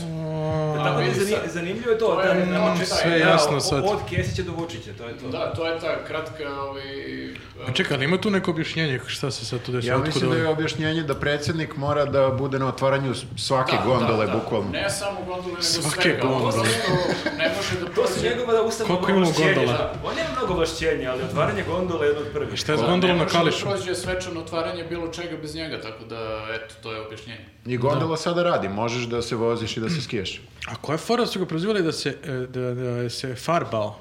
Da, tako da je
vidi
zani-
sad.
zanimljivo je to,
To
da,
je,
da,
mm,
početak-
sve
da,
jasno
o-
sad.
Od Kesića do Vučića, to je to.
Da, to je ta kratka ovaj, e,
A čekaj, ali ima tu neko objašnjenje šta se sad tu ovaj-
Ja
desilo?
mislim da je objašnjenje da predsjednik mora da bude na otvaranju s- svake
Da,
gondole, bukvalno.
Da, Ne samo gondole, nego
Svake
svega.
gondole.
Zato što ne može da
To su
prođe.
njegova ustavna
Koliko imamo
ovlašćenja,
gondola?
da. On nema mnogo vašćenja, ali otvaranje gondole je jedno od prvih.
Šta je s
Ne
gondolom na
ne može da
Kališu?
prođe svečano otvaranje bilo čega bez njega, tako da, eto, to je objašnjenje.
I gondola sada radi, možeš da se voziš i da se skiješ.
A koja fora su ga prozivali da se, e, da, da se farbao?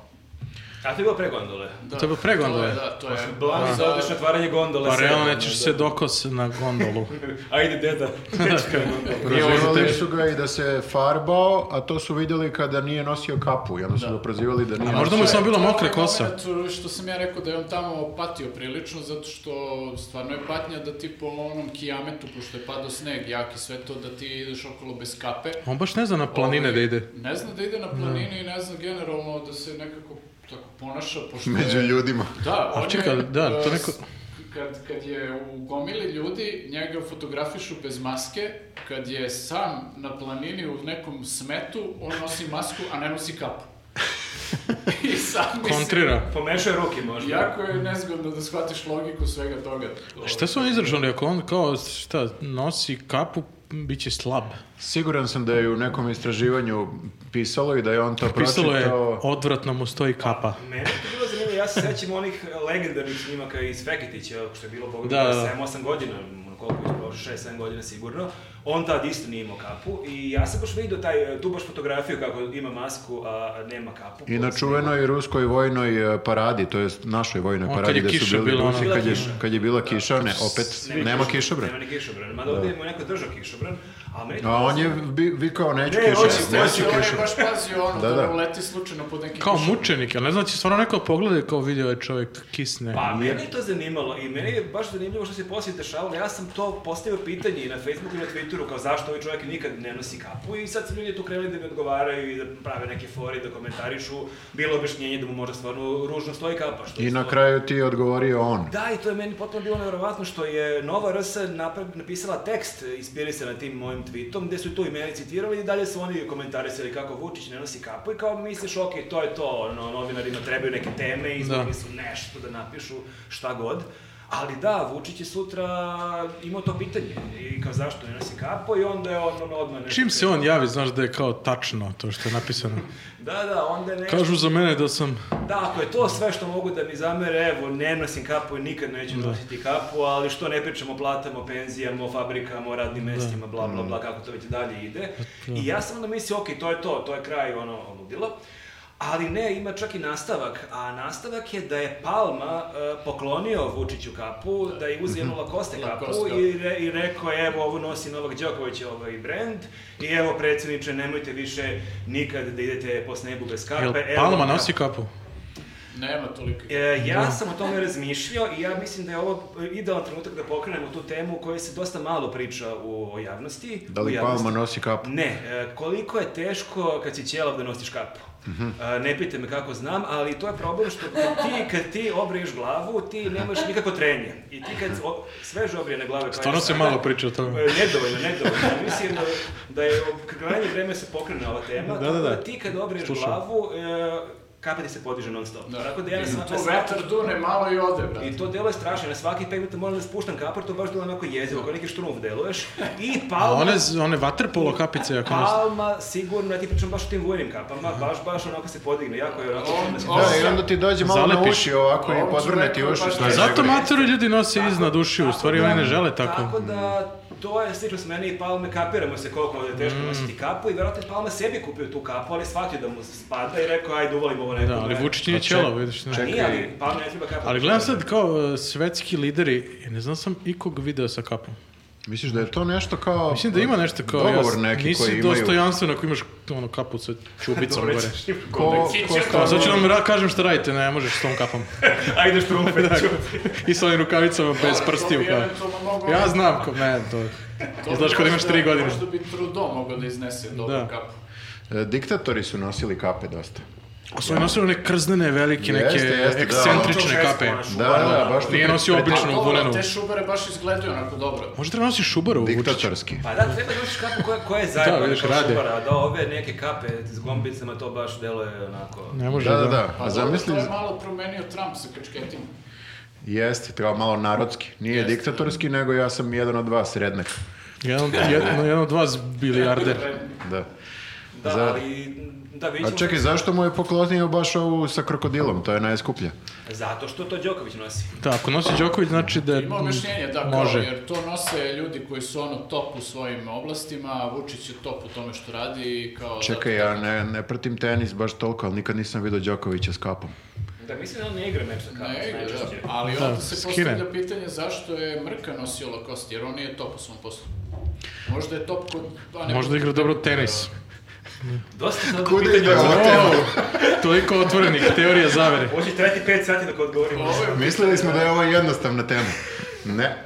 A to je bilo pre gondole.
E,
Da,
To je bio pre gondole.
je, Da, to je.
Blani za odlično otvaranje gondole.
Pa realno
sedam,
nećeš
da.
se dokos na gondolu.
Ajde, deda.
Prozivali su ga i da se farbao, a to su vidjeli kada nije nosio kapu. I onda su ga prozivali da nije
A možda mu
nosio-
je samo bilo
To je
mokra
ovaj
kosa.
moment Što sam ja rekao da je on tamo patio prilično, zato što stvarno je patnja da ti po onom kijametu, pošto je padao sneg, jak i sve to, da ti ideš okolo bez kape.
On baš ne zna na planine
Ovaj,
da ide.
Ne zna da ide na planini i ne zna generalno da se nekako tako ponaša, pošto je-
Među ljudima.
Da, on je,
čekaj, da, to
e,
neko-
s- Kad, kad je u gomili ljudi, njega fotografišu bez maske, kad je sam na planini u nekom smetu, on nosi masku, a ne nosi kapu. I sam mislim,
Kontrira.
Pomešaj ruke možda.
Jako je nezgodno da shvatiš logiku svega toga.
Šta su oni izražali? Ako on kao, šta, nosi kapu, m, bit će slab.
Siguran sam da je u nekom istraživanju pisalo i da je on to
Pisalo
Znači
je,
pročitao.
odvratno mu stoji kapa.
Mene je to bilo zanimljivo, ja se sećam onih legendarnih snimaka iz Feketića, što je bilo Bogu
Da,
da,
da.
7-8 godina, ono, koliko je prošlo, 6-7 godina sigurno. On tad isto nije imao kapu i ja sam baš vidio taj, tu baš fotografiju kako ima masku, a nema kapu.
I na čuvenoj ruskoj vojnoj e, paradi, to jest našoj
O,
vojnoj
kad
paradi
je
gde su
kiša
bili
bila, da.
Rusi,
ono.
kad je,
Bila kiša.
kad je bila kiša, ne, opet,
Nema
nema
kišobran,
kišobran. Da.
Nema ni kišobran, mada ovdje ima neko držao kišobran, a meni...
A on je bi- vikao, neću
Ne, hoće,
kišu,
hoće,
neću
Znači, on je
kišu.
baš pazio ono
Da,
da,
da.
ne uleti slučajno pod neki
Kao
kišobran.
mučenik, ali ne znači stvarno neko pogleda i kao video je čovjek kisne.
Pa, mene je to zanimalo i meni je baš zanimljivo što se poslije dešavalo. Ja sam to postavio pitanje i na Facebooku i na Twitteru Twitteru kao zašto ovaj čovjek nikad ne nosi kapu i sad su ljudi tu krenuli da mi odgovaraju i da prave neke fore i da komentarišu. Bilo objašnjenje da mu možda stvarno ružno stoji kapa. Što
I
je
na
stvarno-
kraju ti je odgovorio on.
Da, i to je meni potpuno bilo nevjerovatno što je Nova RS napred, napisala tekst e, inspirisan tim mojim tweetom, gde su tu i mene citirali i dalje su oni komentarisali kako Vučić ne nosi kapu i kao misliš, ok, to je to, ono, novinarima trebaju neke
Da.
teme i izvukli su nešto da napišu, šta god. Ali da, Vučić je sutra imao to pitanje i kao zašto ne nosi kapu i onda je on ono odmah nešto...
Čim se on javi, znaš da je kao tačno to što je napisano.
Da, da, onda je nešto...
Kažu za mene da sam...
Da, ako je to sve što mogu da mi zamere, evo, ne nosim kapu i nikad neću
Da.
nositi kapu, ali što ne pričamo o platama, o penzijama, o fabrikama, o
Da.
radnim mestima, bla, bla, bla, kako to već dalje ide.
Pa
I ja sam onda mislio, okej, to je to, to je kraj, ono, ludilo. Ali ne, ima čak i nastavak, a nastavak je da je Palma e, poklonio Vučiću kapu, da je
Mhm.
uzeo jednu Lacoste kapu
Lacoste,
i, re, i rekao je, evo, ovo nosi Novak Đoković, ovaj brend, i evo, predsjedniče, nemojte više nikad da idete po snebu bez kape.
Jel
evo
Palma
vam
nosi
kapu."
kapu?
Nema toliko.
E,
Da.
ja sam o tome razmišljao i ja mislim da je ovo idealan trenutak da pokrenemo tu temu o kojoj se dosta malo priča u o javnosti.
Da
u
li
javnosti.
Palma nosi kapu?
Ne, e, koliko je teško kad si ćelav da nosiš kapu.
Mhm.
E, Ne pitaj me kako znam, ali to je problem što kad ti, kad ti obriješ glavu, ti nemaš nikako trenje. I ti kad o, sveže obrijene glave... kao
Stvarno
ja
se
sada,
malo priča o
E,
tome.
Nedovoljno, nedovoljno. Mislim da, da je u krajnje vreme se pokrene ova tema.
Da,
tako
da, da.
Ti kad obriješ
Slušam.
glavu, e, kapa ti se podiže non stop. Tako da ja
I
sam...
tu vetar dune malo i ode, brate.
I to delo je strašno, na svaki 5 minuta moram da spuštam kapor, to baš delo onako jezivo, kao neki štrumf deluješ. I
A
palma,
one, one vaterpolo kapice, ako ne...
palma sigurno, ja ti pričam baš o tim vojnim kapama, baš, baš onako se podigne, jako je onako...
On-
čudno se-
on-
Da, i onda ti dođe malo na
Zalepiš.
uši ovako i
Ovo ću
podvrne ti
rekao,
uši.
baš
što
da.
je
Zato
najgore.
matori ljudi nose iznad ušiju, u stvari oni ne žele
Tako
tako.
da, to je sličnost meni i Palme, kapiramo se koliko je teško
Mm.
nositi kapu i vjerojatno je Palma sebi kupio tu kapu, ali je shvatio da mu spada i rekao, ajde, uvalim ovo nekog.
Da, ali Vučić nije ćelo, vidiš. Ne.
Pa nije, ali Palma ne treba da- kapu.
Ali gledam sad kao e, svetski lideri, ja ne znam sam ikog video sa kapom.
Misliš da je to nešto kao...
Mislim da ima nešto kao
Dogovor
ja,
neki
nisi
koji imaju.
dostojanstven ako imaš ono kapu sa čubicom gore.
Ko, ko
Kao,
stvarno-
sad ću vam ra- kažem šta radite, ne možeš s tom kapom.
Ajde štrumfe, da.
I sa ovim rukavicama bez
Dobro,
prstiju.
to bi
Kao.
da.
eventualno mogao- da
Ja znam ko, ne, to.
To
Znaš
bi
kad imaš
možda-
tri godine.
Možda bi Trudeau mogao da iznese dobru
Da.
kapu.
E, Diktatori su nosili kape dosta.
A su oni nosili one krznene, velike, neke
Jeste, jeste, da.
ekscentrične kape.
Da, da, baš
Nije nosio
A
običnu
Pa, dobro,
dunenu.
te šubere baš izgledaju onako dobro.
Možda treba nosiš šubaru u Vučiću.
Diktatorski.
Pa da, treba da učiš kapu koja, koja je zajedno.
Da, vidiš,
kao
rade.
šubara, Da, ove neke kape s gombicama, to baš deluje onako...
Ne može,
Da, da,
da.
da.
Pa
A
dobro,
zamisli,
To je malo promenio Trump sa kačketima.
jeste, kao malo narodski. Nije diktatorski, nego ja sam jedan od vas, rednak.
Jedan, jedan, jedan od vas bilijarder.
Da.
Da,
Za-
ali... Da, vidjet
A
ćemo-
čekaj, zašto mu je poklonio baš ovu sa krokodilom? To je najskuplja.
Zato što to Đoković nosi.
Da, ako nosi Đoković, znači da... je-
Ima objašnjenje, da, kao,
Može.
jer to nose ljudi koji su ono top u svojim oblastima, a Vučić je top u tome što radi i kao... da-
Čekaj, ja ne, ne pratim tenis baš toliko, ali nikad nisam vidio Đokovića s kapom.
Da, mislim da on ne igra meč sa kapom,
Ne, igra,
najčešće.
da. ali
Da,
onda se
skine.
postavlja pitanje zašto je Mrka nosio Lacoste, jer on nije top u svom poslu. Možda je top kod... Pa ne,
Možda igra dobro tenis.
Dosta sad
Kuda
pitanja.
ide ovo?
O, toliko otvorenih teorija zavere.
Hoće treti 5 sati dok odgovorimo.
Ovo je-
Mislili smo da je ovo jednostavna tema. Ne.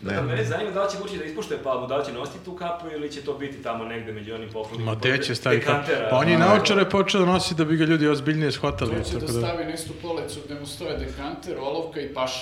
Da,
Ne.
mene zanima da li će Vučić da ispuštuje palmu, da li će nositi tu kapu ili će to biti tamo negde među onim poklonim.
Ma gde će staviti?
Dekantera.
Pa on je i naočare počeo da nosi da bi ga ljudi ozbiljnije shvatali.
To će da
tako da-
stavi na istu policu gde mu stoje dekanter, olovka i paša.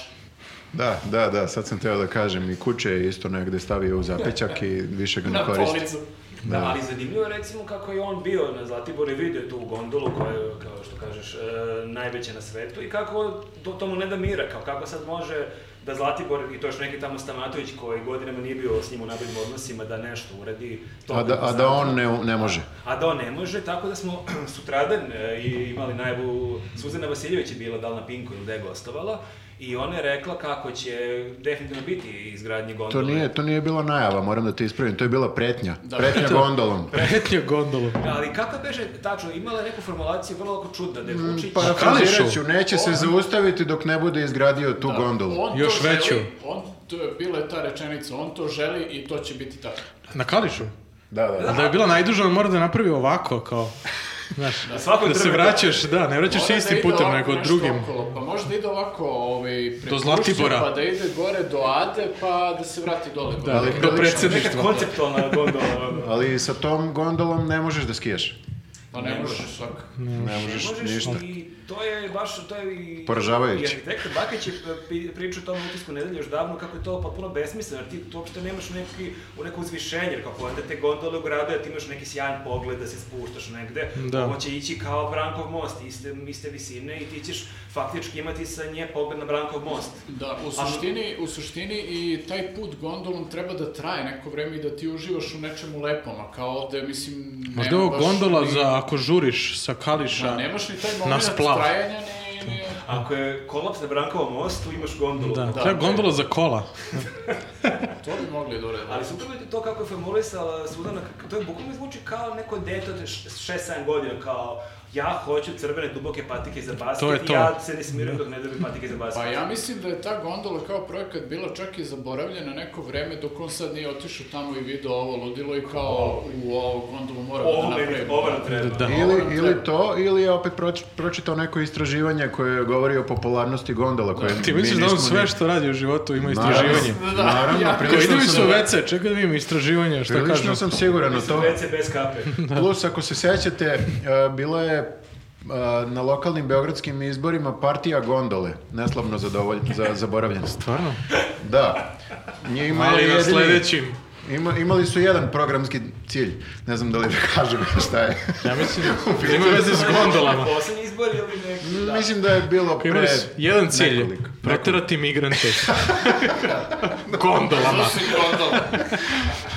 Da, da, da, sad sam teo da kažem i kuće je isto negde stavio u zapećak i više ga ne
Na
koristi.
policu.
Da, ali zanimljivo je recimo kako je on bio na Zlatiboru i vidio je tu gondolu koja je, kao što kažeš, e, najveća na svetu i kako to, to mu ne da mira, kao kako sad može da Zlatibor i to još neki tamo Stamatović koji godinama nije bio s njim u najboljim odnosima da nešto uradi. to
A da, a da on ne, ne može.
A da on ne može, tako da smo sutradan e, i imali najavu, Suzana Vasiljević je bila da li na Pinku ili da je gostovala i ona je rekla kako će definitivno biti izgradnje gondole.
To nije, to nije bila najava, moram da te ispravim, to je bila pretnja.
Da.
Pretnja gondolom.
Pretnja gondolu.
Da, Ali kako beže, tačno, imala je neku formulaciju vrlo ovako čudna, da je
Znači,
Vučić...
pa, Parafrazirat ću,
Kališu.
neće se zaustaviti dok ne bude izgradio
Da.
tu gondolu.
On to
Još
želi,
veću.
On, to je, bila je ta rečenica, on to želi i to će biti tako.
Na Kališu?
Da, da, da.
Ali da je bila najduža, on mora da napravi ovako, kao...
Znaš,
Na svakom
da se
trgu-
vraćaš, da, ne vraćaš se
Mora da
istim
ide
putem,
ovako
nego
nešto
drugim.
Okolo. Pa možda ide ovako ovaj, preko
Do Zlatibora.
Ušća, Pa da ide gore do Ade, pa da se vrati dole.
Da,
Ali
do
prilično-
Neka
predsedništva.
konceptualna gondola. ono.
Ali sa tom gondolom ne možeš da skijaš.
Pa ne možeš svakako.
Ne možeš
Možeš
ništa.
i to je baš, to je i...
Poražavajuće.
I arhitektor Bakić je pri- pričao o tom utisku nedelje još davno kako je to potpuno besmisleno, jer ti tu uopšte nemaš neki, u neko uzvišenje, jer kako onda te gondole u gradu, a ti imaš neki sjajan pogled da se spuštaš negde,
Da.
ovo će ići kao Brankov most, iste, iste visine i ti ćeš faktički imati sa nje pogled na Brankov most.
Da, u suštini, u suštini i taj put gondolom treba da traje neko vreme i da ti uživaš u nečemu lepom, a kao ovde, mislim, nema
Možda je ovo
baš
gondola
ni-
za ako žuriš sa kališa.
Da, nemaš ni taj
na
moment
splav.
trajanja, ni... ni...
Ako je kolaps na Brankovom mostu, imaš gondolu.
Da,
Da,
treba
ne.
gondola za kola.
To bi mogli da urede.
Ali super je to kako je formulisala Sudana, k- to je bukvalno zvuči kao neko dete od 6-7 godina, kao ja hoću crvene duboke patike za basket
To je to.
i ja se ne smirim dok ne dobijem patike za basket.
Pa ja mislim da je ta gondola kao projekat bila čak i zaboravljena neko vreme dok on sad nije otišao tamo i video ovo ludilo i kao u ovu gondolu mora da
Ovo meni,
napravimo.
ovo nam treba.
Da.
Ovo nam
Ili, ili
treba.
to, ili je opet proč, pročitao neko istraživanje koje govori o popularnosti gondola. Koje
Ti
mi
misliš da on
nismo
sve
ni-
što radi u životu ima
Naravno,
istraživanje?
Da,
Naravno,
ja-
Kao
prilično,
idem su
sam,
WC, čekaj da vidim istraživanje, šta kažu.
prilično sam siguran u
Mislim,
to.
WC bez kape.
Da.
Plus, ako se sećate, e, bilo je e, na lokalnim beogradskim izborima partija gondole, neslavno zadovolj- za, zaboravljen.
Stvarno?
Da. Njima je
Ali na
jedini-
sledećim.
Ima, imali su jedan programski cilj. Ne znam da li da kažem šta je.
Ja mislim, da ima veze s gondolama.
Poslednji izbor ili neki, da.
Mislim da je bilo
Kao Imali
pre...
su jedan cilj,
nekoliko.
preterati migrante. Gondolama.
Snosi gondola.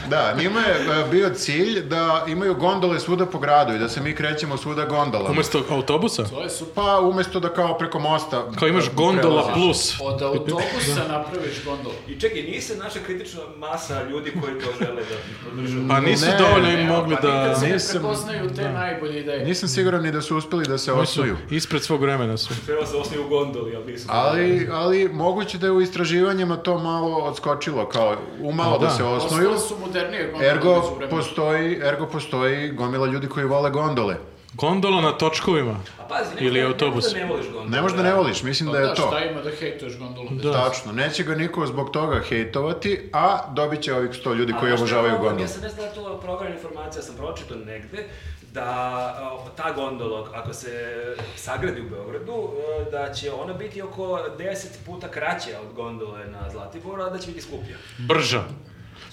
Da, njima je e, bio cilj da imaju gondole svuda po gradu i da se mi krećemo svuda gondolama.
Umesto autobusa?
To je super.
Pa umesto da kao preko mosta... e,
Kao imaš gondola
prelaziš.
plus.
Od autobusa napraviš gondolu.
I čekaj, nije se naša kritična masa ljudi koji to žele da podržu.
Pa nisu
Ne,
dovoljno
Ne,
im mogli
pa
da...
nikad se ne
nisam- da.
prepoznaju te najbolje ideje.
Nisam siguran ni da su uspeli da se
Oni su
osnuju.
ispred svog vremena su.
Treba se osnovi u gondoli, ali nisu.
Ali, ali moguće da je u istraživanjima to malo odskočilo, kao umalo
A,
da,
da.
se osnuju.
Ostale su modernije gondole.
Ergo
međuvremenu.
postoji, ergo postoji gomila ljudi koji vole gondole.
Gondola na točkovima.
A pazi, ne,
Ili
ne- ne
autobus.
možda ne voliš gondolu.
Ne možda ne voliš, mislim da
Da,
je to.
šta ima da hejtuješ gondolu?
Da.
Tačno, neće ga niko zbog toga hejtovati, a dobit će ovih 100 ljudi koji
A znaš šta je
obožavaju
problem?
gondole.
Ja sam ne znam da je to proverena informacija, sam pročitao negde, da a, ta gondola, ako se sagradi u Beogradu, e, da će ona biti oko 10 puta kraća od gondole na Zlatiboru, a da će biti skuplja.
Brža.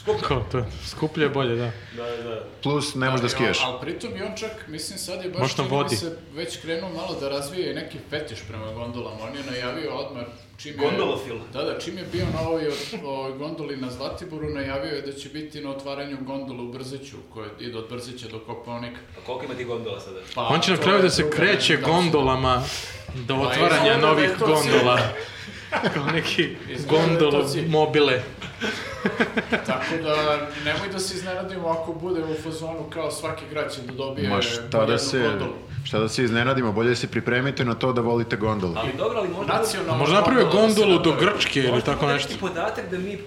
Skuplja?
Kao to. Skuplje je bolje, da.
Da, da.
Plus ne možeš da
Ali on-
skijaš.
Ali pritom i on čak, mislim, sad je baš
Možda
čini mi
vodi.
se već krenuo malo da razvije i neki fetiš prema gondolama. On je najavio odmah čim je...
Gondolofil.
Da, da, čim je bio na ovoj, ovoj gondoli na Zlatiboru, najavio je da će biti na otvaranju gondola u Brzeću, koja ide od Brzeća do Kopaonika.
A koliko ima ti gondola sada?
Pa,
On će na
to
kraju
je
da se
druga-
kreće
da,
gondolama do
Pa,
otvaranja
izgleda da
novih
je to cilj.
gondola. Kao neki
Izgleda da je to
gondol
cilj.
mobile.
Tako da, nemoj da se iznenadimo ako bude u fazonu kao svaki grad će da dobije
Ma šta da
jednu
se,
gondolu.
šta da se iznenadimo, bolje se pripremite na to da volite gondole.
Ali dobro, ali možda...
Nacionalna
Možda napravio
gondola da se
gondolu do
napravi.
Grčke ili
možda
tako
bude
nešto.
neki podatak da mi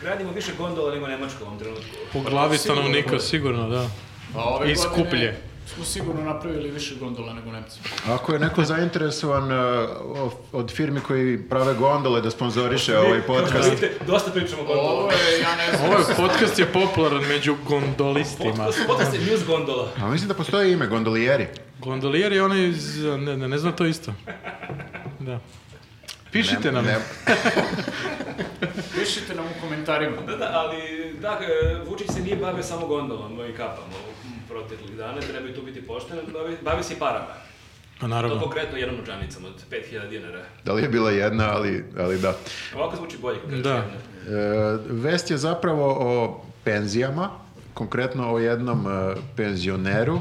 gradimo više gondola nego Nemačka u ovom trenutku.
Po glavi
sigurno
stanovnika,
bude.
sigurno, da.
Pa ove
I skuplje.
godine smo sigurno napravili više gondola nego Nemci.
Ako je neko zainteresovan e, o- od firmi koji prave gondole da sponzoriše ovaj podcast,
Vidite, dosta pričamo o gondola.
Ovo je, ja ne znam,
Ovaj podcast je popularan među gondolistima.
Podcast je news gondola.
a mislim da postoji ime, gondolijeri.
Gondolijer je onaj iz... Ne, ne, ne znam to isto. Da. Pišite nam.
Ne-
pišite nam u komentarima.
Da, da, ali da, e, Vučić se nije bavio samo gondolom i kapama u proteklih dana, treba i tu biti pošten, bavi, bavi se i parama.
Pa
Da,
To
naravno.
konkretno jednom novčanicom od 5000 dinara.
Da li je bila jedna, ali, ali da.
Ovako zvuči bolje. kad kažeš
Da.
jedna.
E, vest je zapravo o penzijama, konkretno o jednom e, penzioneru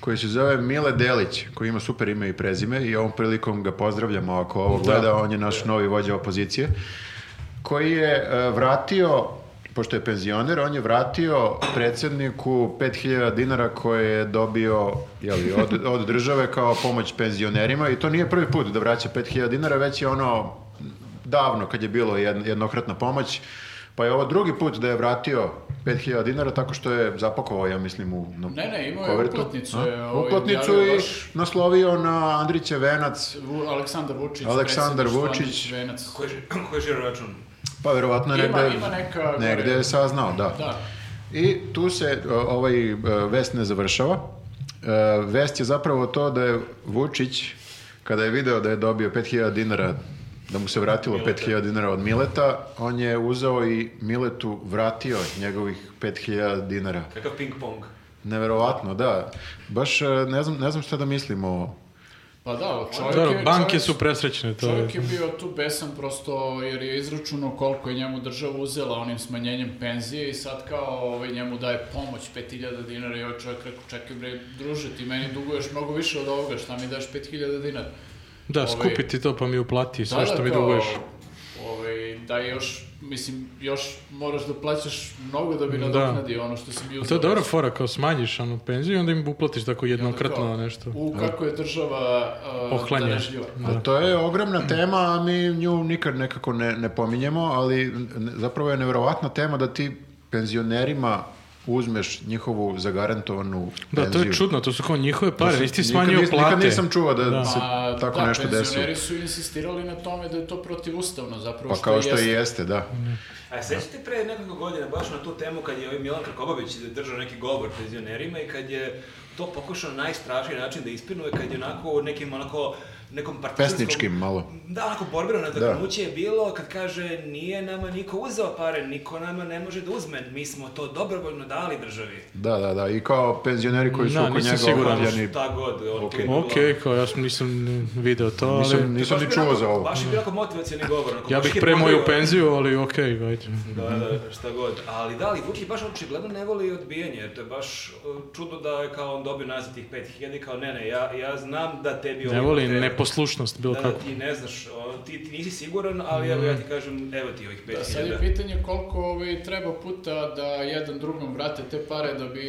koji se zove Mile Delić, koji ima super ime i prezime i ovom prilikom ga pozdravljamo ako ovo gleda, on je naš novi vođa opozicije, koji je e, vratio, pošto je penzioner, on je vratio predsjedniku 5000 dinara koje je dobio jeli, od, od države kao pomoć penzionerima i to nije prvi put da vraća 5000 dinara, već je ono davno kad je bilo jedn- jednokratna pomoć Pa je ovo drugi put da je vratio 5000 dinara tako što je zapakovao, ja mislim, u na
Ne, ne, imao je
kovertu.
uplatnicu,
A?
je, ovaj,
uplatnicu
objavio
i
baš-
naslovio na Andriće venac,
Vu- Aleksandar Vučić,
Aleksandar
predsjednik
Vučić.
Švanić, Venac.
Koji je, koji je žiro račun?
pa verovatno
Ima-
je negde,
ima neka gore.
negde je saznao, da.
Da.
I tu se o, ovaj e, vest ne završava. E, Vest je zapravo to da je Vučić, kada je video da je dobio 5000 dinara, da mu se vratilo 5000 dinara od Mileta, on je uzeo i Miletu vratio njegovih 5000 dinara.
Kakav ping-pong.
Neverovatno, da. Baš e, ne znam, ne znam šta da mislim o...
Pa da, čovjek
Dobro,
je...
banke
čovjek-
su presrećne, to je.
Čovjek je bio tu besan prosto jer je izračunao koliko je njemu država uzela onim smanjenjem penzije i sad kao ovaj, njemu daje pomoć 5000 dinara i ovaj čovjek rekao čekaj bre druže ti meni duguješ mnogo više od ovoga šta mi daš 5000 dinara.
Da,
ovaj-
skupi ti to pa mi uplati sve
Da,
što
da,
mi
kao,
duguješ.
Ovaj, da još, mislim, još moraš da plaćaš mnogo da bi nadoknadio ono što si bio
To je dobra fora, kao smanjiš ono penziju i onda im uplatiš tako jednokratno nešto.
da, U kako je država uh,
Pohlanje.
darežljiva.
Da.
A to je ogromna tema, a mi nju nikad nekako ne, ne pominjemo, ali n- n- zapravo je neverovatna tema da ti penzionerima uzmeš njihovu zagarantovanu
Da, to
penziju.
je čudno, to su kao njihove pare, nisi ti
Nikad
smanjio
nis-
plate.
Nikad nisam čuo da,
Da.
se
A,
tako
da,
nešto desilo.
penzioneri su insistirali na tome da je to protivustavno zapravo
Pa
što,
kao što i
jeste.
jeste, da.
A sećate pre nekoliko godina baš na tu temu kad je ovaj Milan Krkobabić držao neki govor penzionerima i kad je to pokušao na najstrašniji način da ispinuje kad je onako nekim onako nekom partizanskom...
Pesničkim malo.
Da, onako borbeno nadaknuće je bilo kad kaže nije nama niko uzeo pare, niko nama ne može da uzme, mi smo to dobrovoljno dali državi.
Da, da, da. I kao penzioneri koji su
Da,
oko
nisam
njega
siguran. Da,
okupljeni.
Šta god, on tu je bilo-
Ok, kao ja sam- nisam video to, ali...
Nisam, nisam
Baš
ni
bi
čuo
onako-
za ovo.
Baš je bio onako motivacijani govor. onako
Ja
baš
bih
je
pre moju
pozdravio-
penziju, ali ok, ajde.
Da, da, šta god. Ali da, ali Vuki baš očigledno ne voli odbijanje, jer to je baš uh, čudo da je kao on dobio nazad tih 5000 i kao ne, ne, ja, ja znam da tebi...
Ne
ovo
voli
treba.
neposlušnost, bilo
Da, da,
kako. Mhm.
ti ne znaš, ono, ti, ti nisi siguran, ali evo ja ti kažem, evo ti ovih 5000.
Da, sad je pitanje koliko ovaj, treba puta da jedan drugom vrate te pare da bi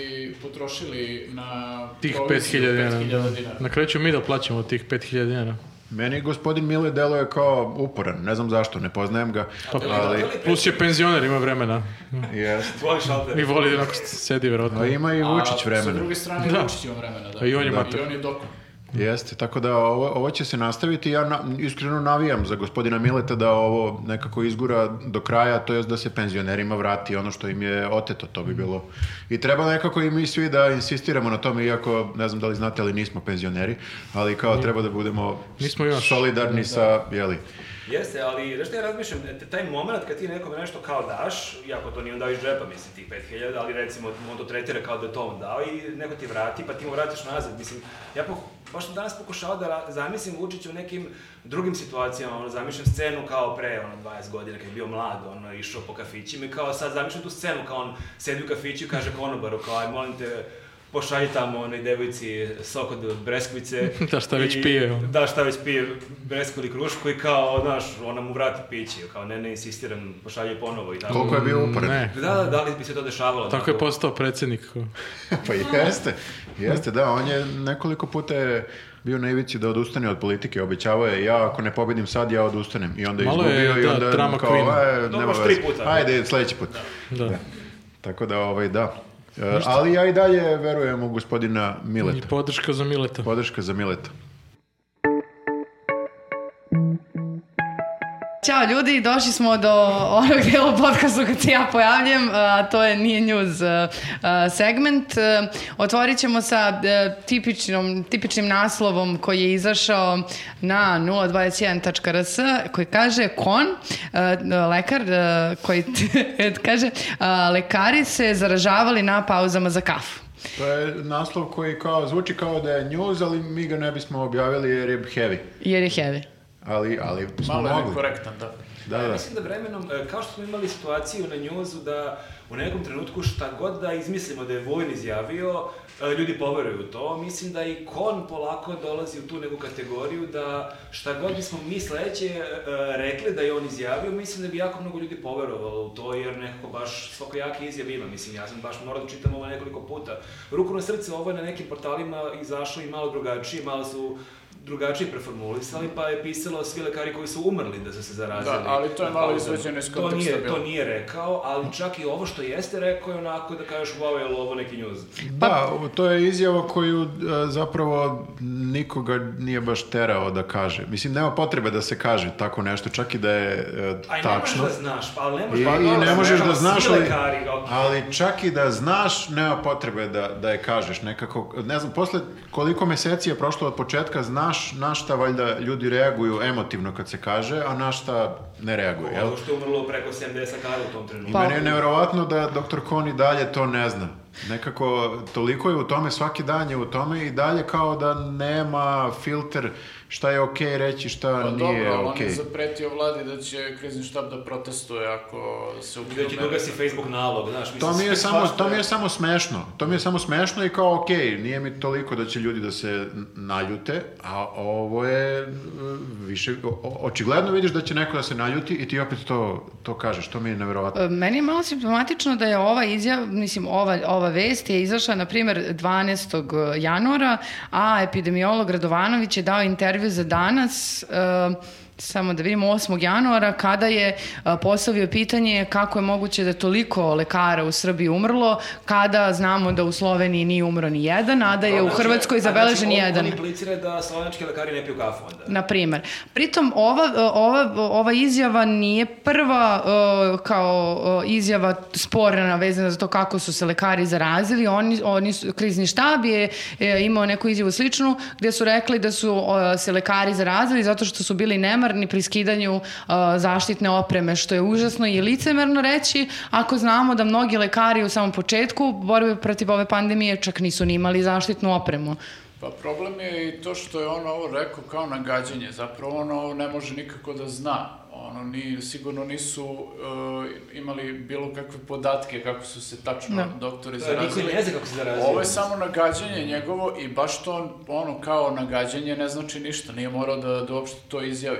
potrošili na
Tih
proviziju
5000
5000
dinara.
dinara.
Na kraju ćemo mi da plaćamo tih 5000 dinara.
Meni gospodin Mile deluje kao uporan, ne znam zašto, ne poznajem ga,
Pa,
ali
Plus je penzioner, ima vremena.
jest.
Tvoj šalter.
I voli da onako sedi, vjerojatno.
A ima i Vučić
A sa
vremena.
druge strane
Da.
Vučić ima vremena, da.
A i on je
da.
mater.
I on je dokon.
Jeste, tako da ovo, ovo će se nastaviti. Ja na- iskreno navijam za gospodina Mileta da ovo nekako izgura do kraja, to jest da se penzionerima vrati ono što im je oteto, to bi bilo. I treba nekako i mi svi da insistiramo na tome, iako ne znam da li znate, ali nismo penzioneri, ali kao treba da budemo
Nismo još. Da,
solidarni sa, jeli,
Jeste, ali znaš šta ja razmišljam, e, taj moment kad ti nekome nešto kao daš, iako to nije on dao iz džepa, mislim, tih 5000, ali recimo on to tretira kao da je to on dao i neko ti vrati, pa ti mu vratiš nazad, mislim, ja po, baš sam danas pokušao da ra- zamislim Vučića u nekim drugim situacijama, ono, zamišljam scenu kao pre, ono, 20 godina, kad je bio mlad, ono, išao po kafićima i kao sad zamišljam tu scenu, kao on sedi u kafiću i kaže konobaru, kao, aj, molim te, pošalji tamo onoj devojci sok od breskvice.
Da, šta već
I-
pije, ono.
da, šta već pije bresku ili krušku i kao, znaš, ona mu vrati piće, kao ne, ne insistiram, pošalje ponovo i tako.
koliko je bio uporan.
Ne,
Da, da, da li bi se to dešavalo?
tako je
onako?
postao predsjednik. ko.
Pa jeste, jeste, da, on je nekoliko puta je bio na ivici da odustane od politike, obećavao je ja ako ne pobedim sad ja odustanem i onda je
Malo je,
izgubio i
da,
onda
drama
kao
queen.
"E,
To
nema
baš tri
veze.
puta.
Ajde, sledeći put.
Da.
Tako da ovaj da. E, ali ja i dalje verujem u gospodina
I
Mileta.
podrška za Mileta.
Podrška za Mileta.
Ćao ljudi, došli smo do onog dela podcastu kad se ja pojavljam, a to je Nije News a, a, segment. E, Otvorit ćemo sa e, tipičnom, tipičnim naslovom koji je izašao na 021.rs koji kaže kon, e, lekar e, koji kaže a, lekari se zaražavali na pauzama za kafu.
To je naslov koji kao zvuči kao da je news, ali mi ga ne bismo objavili jer je heavy.
Jer je heavy.
Ali, ali smo
Malo je
mogli.
nekorektan, da.
Da, da.
Mislim da vremenom, e, kao što smo imali situaciju na njuzu da u nekom trenutku šta god da izmislimo da je Vojn izjavio, e, ljudi poveruju u to. Mislim da i Kon polako dolazi u tu neku kategoriju da šta god bismo mi sledeće e, rekli da je on izjavio, mislim da bi jako mnogo ljudi poverovalo u to jer nekako baš svakojake izjave ima. Mislim, ja sam baš morao da čitam ovo nekoliko puta. Ruku na srce, ovo je na nekim portalima izašlo i malo drugačije, malo su drugačije preformulisali, pa je pisalo svi lekari koji su umrli da su se zarazili.
Da, ali to je
na
malo
pauzama.
izvađeno iz
to
konteksta
nije,
bilo.
to nije rekao, ali čak i ovo što jeste rekao je onako da kažeš wow, je li ovo neki njuz?
Da, to je izjava koju e, zapravo nikoga nije baš terao da kaže. Mislim, nema potrebe da se kaže tako nešto, čak i da je e,
Aj, ne možeš
tačno.
da znaš, pa ali ne možeš,
I,
pa,
I
dobro,
ne možeš da
svi
znaš, ali,
lekari, ok.
ali čak i da znaš, nema potrebe da, da je kažeš nekako. Ne znam, posle koliko meseci je prošlo od početka, znaš na šta valjda ljudi reaguju emotivno kad se kaže, a na šta ne reaguju, jel?
Ovo što je umrlo preko 70 lekara u tom trenutku.
Pa-
Meni je nevjerovatno da doktor Kon i dalje to ne zna. Nekako, toliko je u tome, svaki dan je u tome i dalje kao da nema filter šta je okej reći, šta nije
Pa dobro, ali on
okej.
je zapretio vladi da će krizni štab da protestuje ako se ukinu
Gde će
mere.
dogasi Facebook nalog, znaš, mislim,
To mi, je
sve
samo,
svašta
to mi je samo smešno. To mi je samo smešno i kao okej, nije mi toliko da će ljudi da se n- naljute, a ovo je e, više, o- o- očigledno vidiš da će neko da se naljuti i ti opet to, to kažeš, to mi je nevjerovatno.
E, Meni je malo simptomatično da je ova izjava, mislim, ova, ova vest je izašla, na primjer, 12. januara, a epidemiolog Radovanović je dao intervju za danas, e, samo da vidimo, 8. januara, kada je e, postavio pitanje kako je moguće da je toliko lekara u Srbiji umrlo, kada znamo da u Sloveniji nije umro ni jedan, a da je u
Znači,
Hrvatskoj
a znači,
zabeležen
ovo-
jedan.
Ovo implicira da slovenački lekari ne piju kafu onda.
na primer. Pritom, ova, ova, ova izjava nije prva e, kao e, izjava sporna vezana za to kako su se lekari zarazili. Oni, oni su, krizni štab je e, imao neku izjavu sličnu gdje su rekli da su e, se lekari zarazili zato što su bili nemarni pri skidanju e, zaštitne opreme, što je užasno i licemerno reći ako znamo da mnogi lekari u samom početku borbe protiv ove pandemije čak nisu ni imali zaštitnu opremu.
Pa problem je i to što je on ovo rekao kao nagađanje. Zapravo ono ne može nikako da zna. Ono, ni, sigurno nisu e, imali bilo kakve podatke kako su se tačno
Da.
doktori
Da, Niko
zarazili.
ne zna kako se zarazio.
Ovo je samo nagađanje njegovo i baš to on- ono kao nagađanje ne znači ništa, nije morao da, da uopšte to izjavi.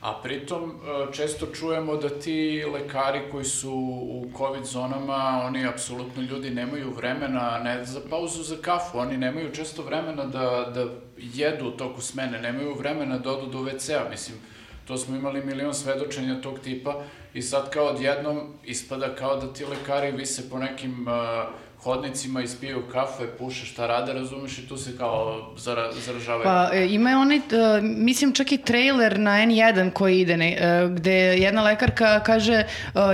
A pritom e, često čujemo da ti lekari koji su u covid zonama, oni apsolutno ljudi nemaju vremena ne za pauzu za kafu, oni nemaju često vremena da, da jedu u toku smene, nemaju vremena da odu do WC-a, mislim, to smo imali milion svedočenja tog tipa i sad kao odjednom ispada kao da ti lekari vise po nekim e, hodnicima, ispiju kafe, e, puše šta rade, razumeš i tu se kao zara, zaražavaju.
Pa e, ima je onaj, e, mislim čak i trailer na N1 koji ide, ne, e, gde jedna lekarka kaže e,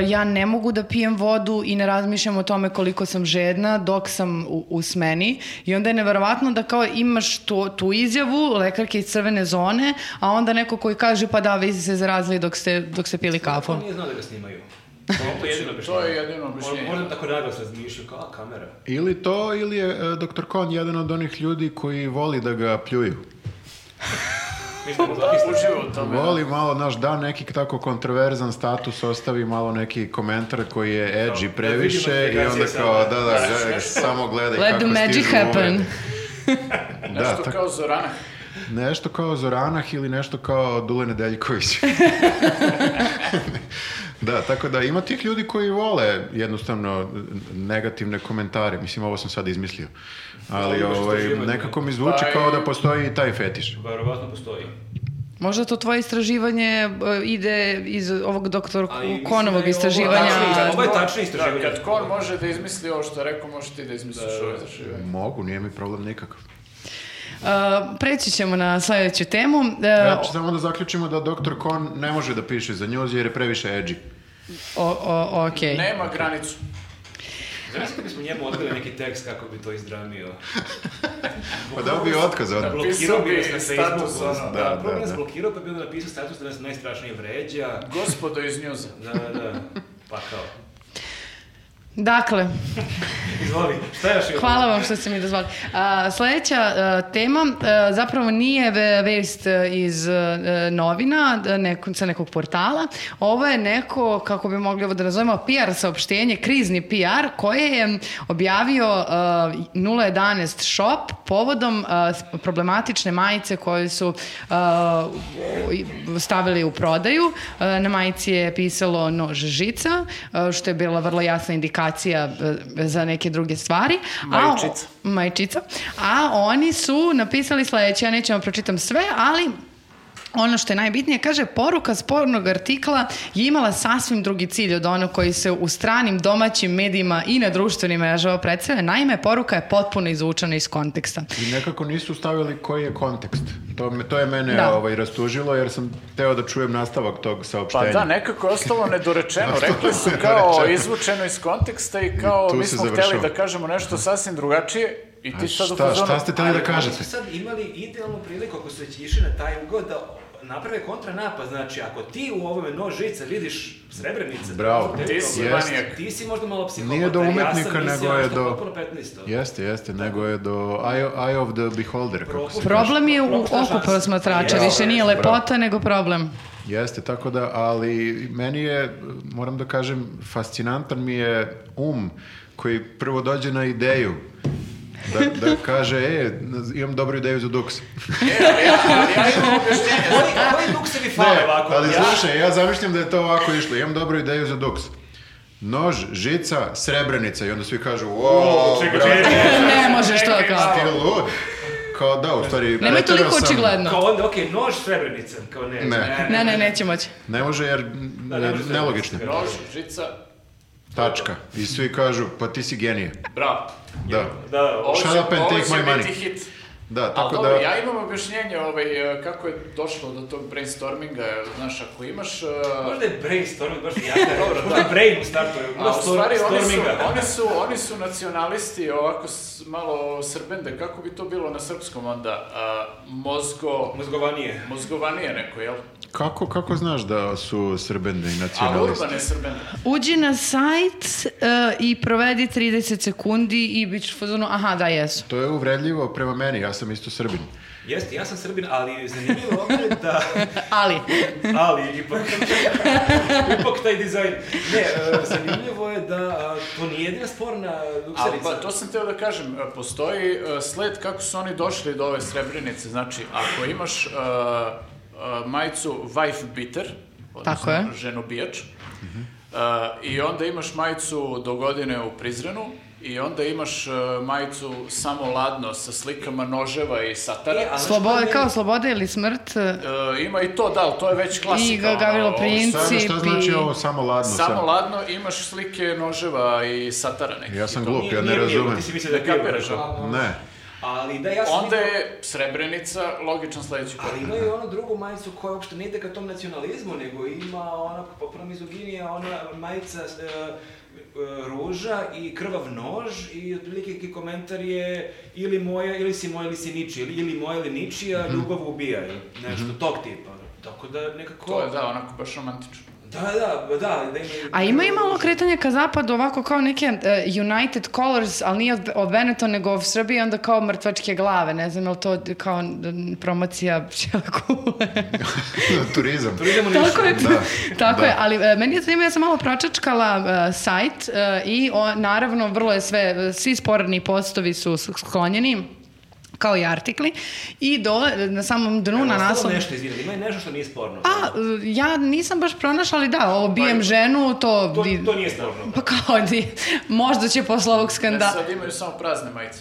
ja ne mogu da pijem vodu i ne razmišljam o tome koliko sam žedna dok sam u, u smeni i onda je neverovatno da kao imaš tu, tu izjavu lekarke iz crvene zone, a onda neko koji kaže pa da, vi ste se zarazili dok ste, dok ste pili kafu.
On nije znao da ga snimaju. To je jedino objašnjenje.
Znači, to je jedino objašnjenje.
Možda tako naglas razmišljao, kao, a, kamera.
Ili to, ili je e, doktor Kon jedan od onih ljudi koji voli da ga pljuju.
Mi smo zapisali.
Uživo u tome.
Voli malo, naš da neki tako kontroverzan status, ostavi malo neki komentar koji je edgy
Da, da
previše
vidimo
i onda
implikacije
kao, da,
sada.
da, ga- samo gledaj
Let
kako
the magic
stižu
happen.
uvrede. Da,
Nešto
tako-
kao Zoranah.
nešto kao Zoranah ili nešto kao Dule Nedeljković. da, tako da ima tih ljudi koji vole jednostavno negativne komentare. Mislim, ovo sam sad izmislio. Ali
Da, ima što
ovaj,
živanje.
nekako mi zvuči
Pa i-
kao da postoji i taj fetiš.
Verovatno Pa, postoji.
Možda to tvoje istraživanje e, ide iz ovog doktora
Ali mislim da je
Konovog
ovo
istraživanja.
tačno iz- Ovo je
Kon-
tačnije istraživanje.
Znači, Da, kad Kon može da izmisli ovo što je rekao, možeš ti da izmisliš ovo istraživanje.
Mogu, nije mi problem nikakav.
E, preći ćemo na sljedeću temu. E,
Znači, samo da zaključimo da Dr. Kon ne može da piše za njoz jer je previše edgy.
O, o, okej.
Nema granicu.
Znači kad bismo njemu odgledali neki tekst kako bi to izdramio.
Pa dao bi otkaz odmah.
Blokirao bi nas na
Pisao bi status,
Facebooku.
ono,
da,
Da, prvo
da,
bi nas
da.
blokirao pa bi onda napisao status da nas najstrašnije vređa.
Gospodo iz njuza.
Da, da, da. Pa kao.
Dakle,
Izvoli, šta je još imamo?
hvala vam što ste mi dozvali. A, sljedeća e, tema e, zapravo nije ve- vest e, iz e, novina, e, neko, sa nekog portala. Ovo je neko, kako bi mogli ovo da nazovemo, PR saopštenje, krizni PR, koje je objavio e, 011 shop povodom e, s- problematične majice koje su e, u- stavili u prodaju. E, na majici je pisalo nož žica, e, što je bila vrlo jasna indikacija edukacija e, za neke druge stvari.
Majčica.
A, o- majčica. A oni su napisali sledeće, ja neću vam pročitam sve, ali ono što je najbitnije, kaže, poruka spornog artikla je imala sasvim drugi cilj od onog koji se u stranim domaćim medijima i na društvenim mrežama predstavlja. Naime, poruka je potpuno izvučena iz konteksta.
I nekako nisu stavili koji je kontekst. To, me, to je mene
Da.
ovaj, rastužilo jer sam teo da čujem nastavak tog
Pa
saopštenja.
da, nekako je ostalo nedorečeno. Rekli su kao
nedorečeno.
izvučeno iz konteksta i kao
I tu
mi
se
smo hteli
završava.
da kažemo nešto sasvim drugačije i ti sad u
šta,
fazonu...
šta ste teli da kažete?
Oni su sad imali idealnu priliku, ako su već išli na taj ugao, da naprave kontranapad. Znači, ako ti u ovome nož žica vidiš srebrnice...
Bravo.
Ti si manijak.
Ti si možda malo psihopata.
Nije do umetnika,
ja
nego je do-
Ja sam mislio, ja
Jeste, jeste, nego je do Eye, eye of the Beholder. Kako se.
Problem je u
Propuštena
oku
šansa.
prosmatrača,
Bravo,
više nije
bravo.
lepota, nego problem.
Jeste, tako da, ali meni je, moram da kažem, fascinantan mi je um koji prvo dođe na ideju da, da kaže, e, imam dobru ideju za duks.
Koji, koji duk se mi fale ovako?
ali
ja,
slušaj, ja zamišljam da je to ovako išlo, imam dobru ideju za duks. Nož, žica, srebrenica i onda svi kažu, o,
čekaj,
brate,
čekaj.
ne možeš to kao.
ti lud." Kao da, u stvari,
Nemoj
preterao
toliko
sam.
očigledno.
Kao onda, okej, nož srebrnica. Kao ne,
Ne.
Ne, ne, neće moći.
Ne može jer
Da, ne može se-
nelogično.
Nož, žica,
Tačka. I svi kažu, pa ti si genije.
bravo.
Da.
Da,
Ovo će,
Shut up and
ovo
take
će
my money.
biti hit.
Da,
Ali
tako
dobro,
da...
ja imam objašnjenje ovaj, e, kako je došlo do tog brainstorminga, znaš, ako imaš... e,
Možda da je brainstorming, baš jaka.
Dobro,
Možda je
da.
brain u startu.
A u stvari oni su,
storminga. da.
oni, su, oni su nacionalisti, ovako s- malo srbende, kako bi to bilo na srpskom onda? A, mozgo,
Mozgovanije.
mozgovanije neko, jel?
Kako, kako znaš da su srbende i
A
nacionalisti?
urbane srbende.
Uđi na sajt e, i provedi 30 sekundi i bit ćeš u fazonu, aha, da, jesu.
To je uvredljivo prema meni, ja sam isto srbin.
Jeste, ja sam srbin, ali zanimljivo ovdje je da...
Ali,
ali ipak, ipak taj dizajn. Ne, e, zanimljivo je da a, to nije jedina sporna
Ali
dukserica.
pa, to sam teo da kažem, e, postoji e, sled kako su oni došli do ove srebrenice. Znači, ako imaš e, e, majicu wife beater,
Tako
odnosno
je.
ženobijač, e, i onda imaš majicu do godine u Prizrenu, i onda imaš e, majicu samo ladno sa slikama noževa i satara.
E, ali-
sloboda, kao sloboda ili smrt, e,
E, ima i to, da, ali to je već klasika.
I ga-
ono,
Gavrilo
ovo-
Princip.
Šta, šta znači
Cipi.
ovo samo ladno?
Samo
sam?
ladno imaš slike noževa i satara nekih.
Ja sam
i to.
glup,
Nije-
ja ne
nije bilo,
razumem.
Ti si mislio da
Da
je bilo.
kapiraš, a?
Ne.
Ali da, ja sam
Onda
vidio-
je Srebrenica logičan sledeći korak.
Ali ima i onu drugu majicu koja uopšte ne ide ka tom nacionalizmu, nego ima ona popra mizoginija, ona majica e, e, ruža i krvav nož i otprilike neki komentar je ili moja, ili si moja, ili si niči, ili, ili moja, ili ničija,
Mhm.
ljubav ubija, ili nešto tog tipa. Tako da nekako...
To je, da, onako baš romantično.
Da, da, ba, da, da ima...
A ima i malo kretanje ka zapadu, ovako kao neke e, United Colors, ali nije od, od Benetton, nego od Srbije, onda kao mrtvačke glave, ne znam, je li to kao m, promocija pčelakule?
Turizam.
Idemo na
Tako je,
Da.
tako
Da.
je, ali e, meni je zanimljivo, ja sam malo pročačkala e, sajt e, i o, naravno vrlo je sve, e, svi sporedni postovi su s- sklonjeni, kao i artikli, i do, e, na samom dnu, na
Ostalo
naslovu...
Nešto, izvini, ima i nešto što nije sporno.
A, e, ja nisam baš pronašla, ali da, ovo
Pa
bijem ženu, to...
to,
di-
to nije sporno.
Pa kao, di, možda će posle ovog
Ne,
skandala.
sad imaju samo prazne majice.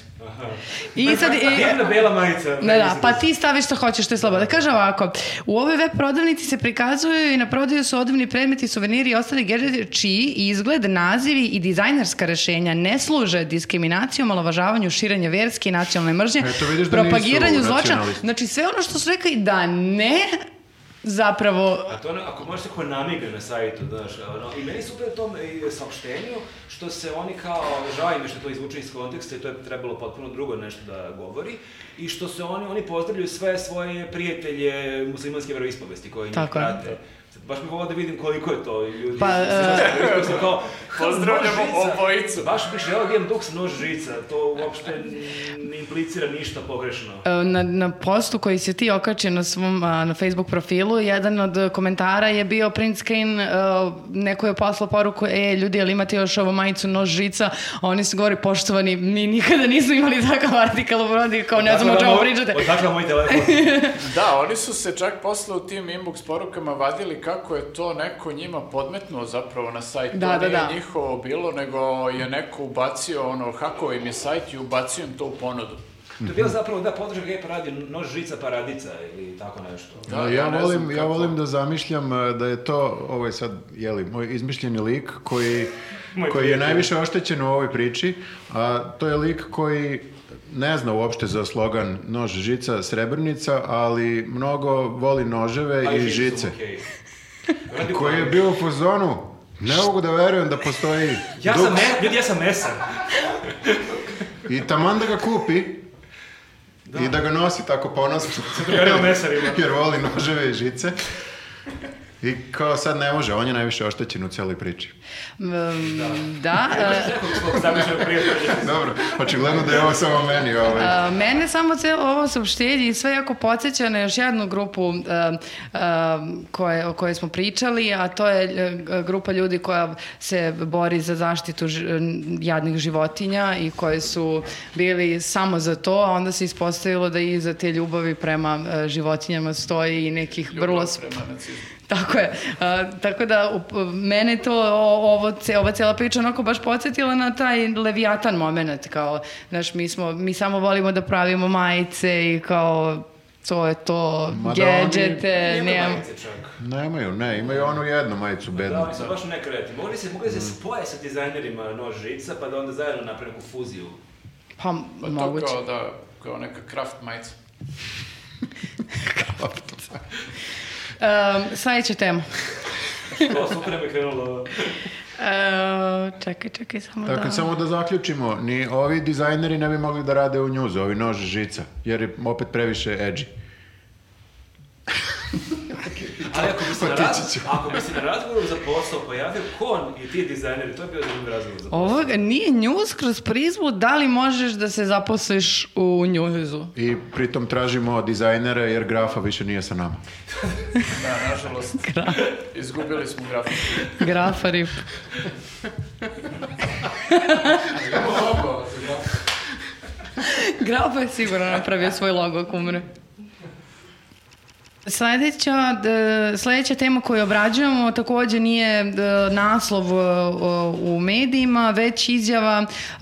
I sad, i,
Jedna bela majica.
Da, da,
mislim
pa ti staviš što hoćeš, to je sloboda. Kaže ovako, u ovoj web prodavnici se prikazuju i na prodaju su odivni predmeti, suveniri i ostali gadgeti čiji izgled, nazivi i dizajnerska rešenja ne služe diskriminaciju, omalovažavanju, širanju verske i nacionalne mržnje,
Eto, vidiš da nisu
propagiranju zločina.
nacionalisti.
Znači sve ono što su rekli da ne, zapravo
A Pa to ono, ako možeš tako namigne na sajtu, znaš, ono, i meni su upravo tom i saopštenju, što se oni kao, žao im je što to izvuče iz konteksta i to je trebalo potpuno drugo nešto da govori, i što se oni, oni pozdravljaju sve svoje prijatelje muslimanske veroispovesti koje njih
Tako je.
prate. Sad, baš bi volao da vidim koliko je to ljudi.
Pa,
uh, kao,
Pozdravljamo
nož žica.
obojicu.
Baš bih želeo da imam duks nož žica, to uopšte ne implicira ništa pogrešno.
E, na, na postu koji si ti okačio na svom a, na Facebook profilu, jedan od e, komentara je bio print screen, e, neko je poslao poruku, e, ljudi, jel imate još ovo majicu nož žica? A Oni su govori, poštovani, mi nikada nismo imali takav artikal u brodi, kao ne znam o
Odakle
čemu
da moj-
pričate.
Odakle moj telefon?
Da, oni su se čak posle u tim inbox porukama vadili kako je to neko njima podmetnuo zapravo na sajtu.
Da,
To
da,
nije
da.
njihovo bilo, nego je neko ubacio, ono, hakovao im je sajt i ubacio im to u ponudu.
To je bio zapravo, da, podrška gej paradi, nož žica paradica ili tako nešto.
Da,
ja,
ne znam
volim, ja
kako.
volim da zamišljam e, da je to, ovo je sad, jeli, moj izmišljeni lik koji, koji je najviše oštećen u ovoj priči, a to je lik koji ne zna uopšte za slogan nož, žica, srebrnica, ali mnogo voli noževe
Pa
i
žicu,
žice.
okej. Radi
Koji je
plan.
bio u fazonu, ne mogu da verujem da postoji
Ja
dug
sam, me, ljudi, ja sam mesan.
I taman da ga kupi i da ga nosi tako ponosno.
drugarima mesarima.
Jer voli noževe i žice. I kao sad ne može, on je najviše oštećen u cijeloj priči.
Mm, da. e,
Svog zamišljenog prijatelja.
Dobro, očigledno da je ovo samo meni. Ovaj.
A, mene samo cijelo ovo saopštenje i sve jako podsjeća na još jednu grupu um, um, koje, o kojoj smo pričali, a to je e, grupa ljudi koja se bori za zaštitu ž, jadnih životinja i koje su bili samo za to, a onda se ispostavilo da i za te ljubavi prema e, životinjama stoji i nekih vrlo... sp-
Prema nacizmu.
Tako je. A, tako da u- mene to o- ovo ce- ova cela priča onako baš podsjetila na taj Leviatan moment kao znaš mi smo mi samo volimo da pravimo majice i kao to je to
Ma da oni-
gadgete,
Nema
E, nemam.
majice čak.
Nemaju, ne, imaju onu jednu majicu
Da,
bednu.
oni su baš nekreativni. Mogli se,
Mm.
mogli se spoje sa dizajnerima nož žica, pa da onda zajedno napravimo neku fuziju.
Pa
Pa
moguće.
to kao, da, kao neka kraft majica.
Um, sledeća tema.
To super mi je krenulo.
E, čekaj, čekaj, samo
Dakle,
da...
samo da zaključimo, ni ovi dizajneri ne bi mogli da rade u njuzu, ovi nož žica, jer je opet previše edgy.
Ali ako bi se na,
Otići
raz,
Pa ću.
ako bi se na razgovoru za posao pojavio kon i ti dizajneri, to je bio zanimljiv razgovor za posao.
Ovo nije news kroz prizmu da li možeš da se zaposliš u newsu.
I pritom tražimo dizajnera jer grafa više nije sa nama.
Da, nažalost, izgubili smo grafiku.
Grafa rip.
Imamo logo za grafiku.
Grafa je sigurno napravio svoj logo ako umre. Sledeća, d- sledeća tema koju obrađujemo takođe nije d- naslov e, u medijima, već izjava e,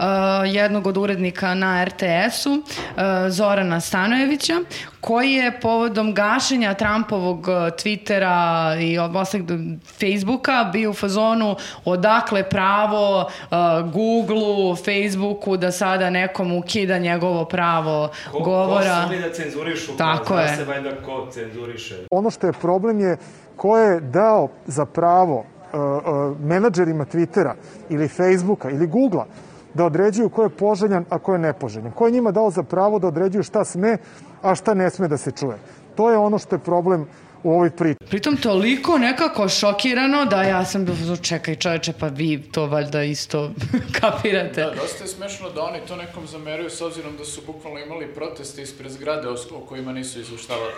jednog od urednika na RTS-u, e, Zorana Stanojevića, koji je povodom gašenja Trumpovog e, Twittera i ostalim Facebooka bio u fazonu odakle pravo e, Googleu, Facebooku da sada nekom ukida njegovo pravo
Ko,
govora.
Ko su oni da cenzurišu?
Tako
Zna
je.
se valjda ko cenzuriše.
Ono što je problem je ko je dao za pravo e, e, menadžerima Twittera ili Facebooka ili Googla da određuju ko je poželjan, a ko je nepoželjan. Ko je njima dao za pravo da određuju šta sme, a šta ne sme da se čuje. To je ono što je problem u ovoj priči.
Pritom toliko nekako šokirano da ja sam bilo, "Zu, čekaj čoveče, pa vi to valjda isto kapirate.
Da, dosta je smešno da oni to nekom zameraju s obzirom da su bukvalno imali proteste ispred zgrade o, o kojima nisu izveštavali.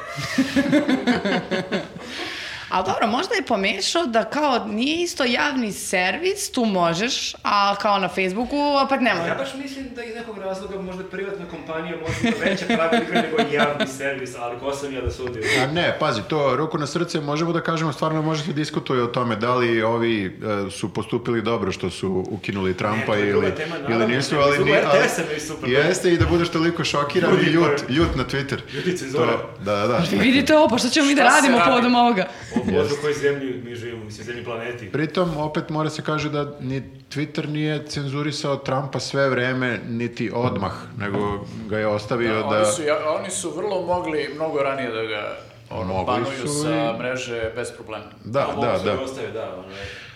A dobro, možda je pomešao da kao nije isto javni servis, tu možeš, a kao na Facebooku opet ne
Ja
možeš.
baš mislim da iz nekog razloga možda privatna kompanija možda ima veće pravilnika nego javni servis, ali ko sam ja da sudim?
A ne, pazi, to ruku na srce možemo da kažemo, stvarno može se diskutuje o tome da li ovi e, su postupili dobro što su ukinuli Trumpa
E, to je druga
ili,
tema, naravno,
ili nisu,
nego su
ali, ni,
RTS-a bili super.
jeste i da budeš toliko šokiran i
Ljudi
ljut,
koji-
ljut na Twitter.
Ljudi cenzure.
To- Da, da, da.
Vi vidite ovo, pa šta ćemo mi da
Šta se
radimo
radi?
povodom ovoga?
O Bože, u kojoj zemlji mi živimo, mislim, zemlji planeti.
Pritom, opet mora se kaže da ni Twitter nije cenzurisao Trumpa sve vreme, niti odmah, nego ga je ostavio da...
Oni, su, ja, oni su vrlo mogli mnogo ranije da ga ono,
Mogli
banuju
su
sa mreže bez problema.
Da,
A
da,
Bogu su
da.
i Ostaju, da, ono.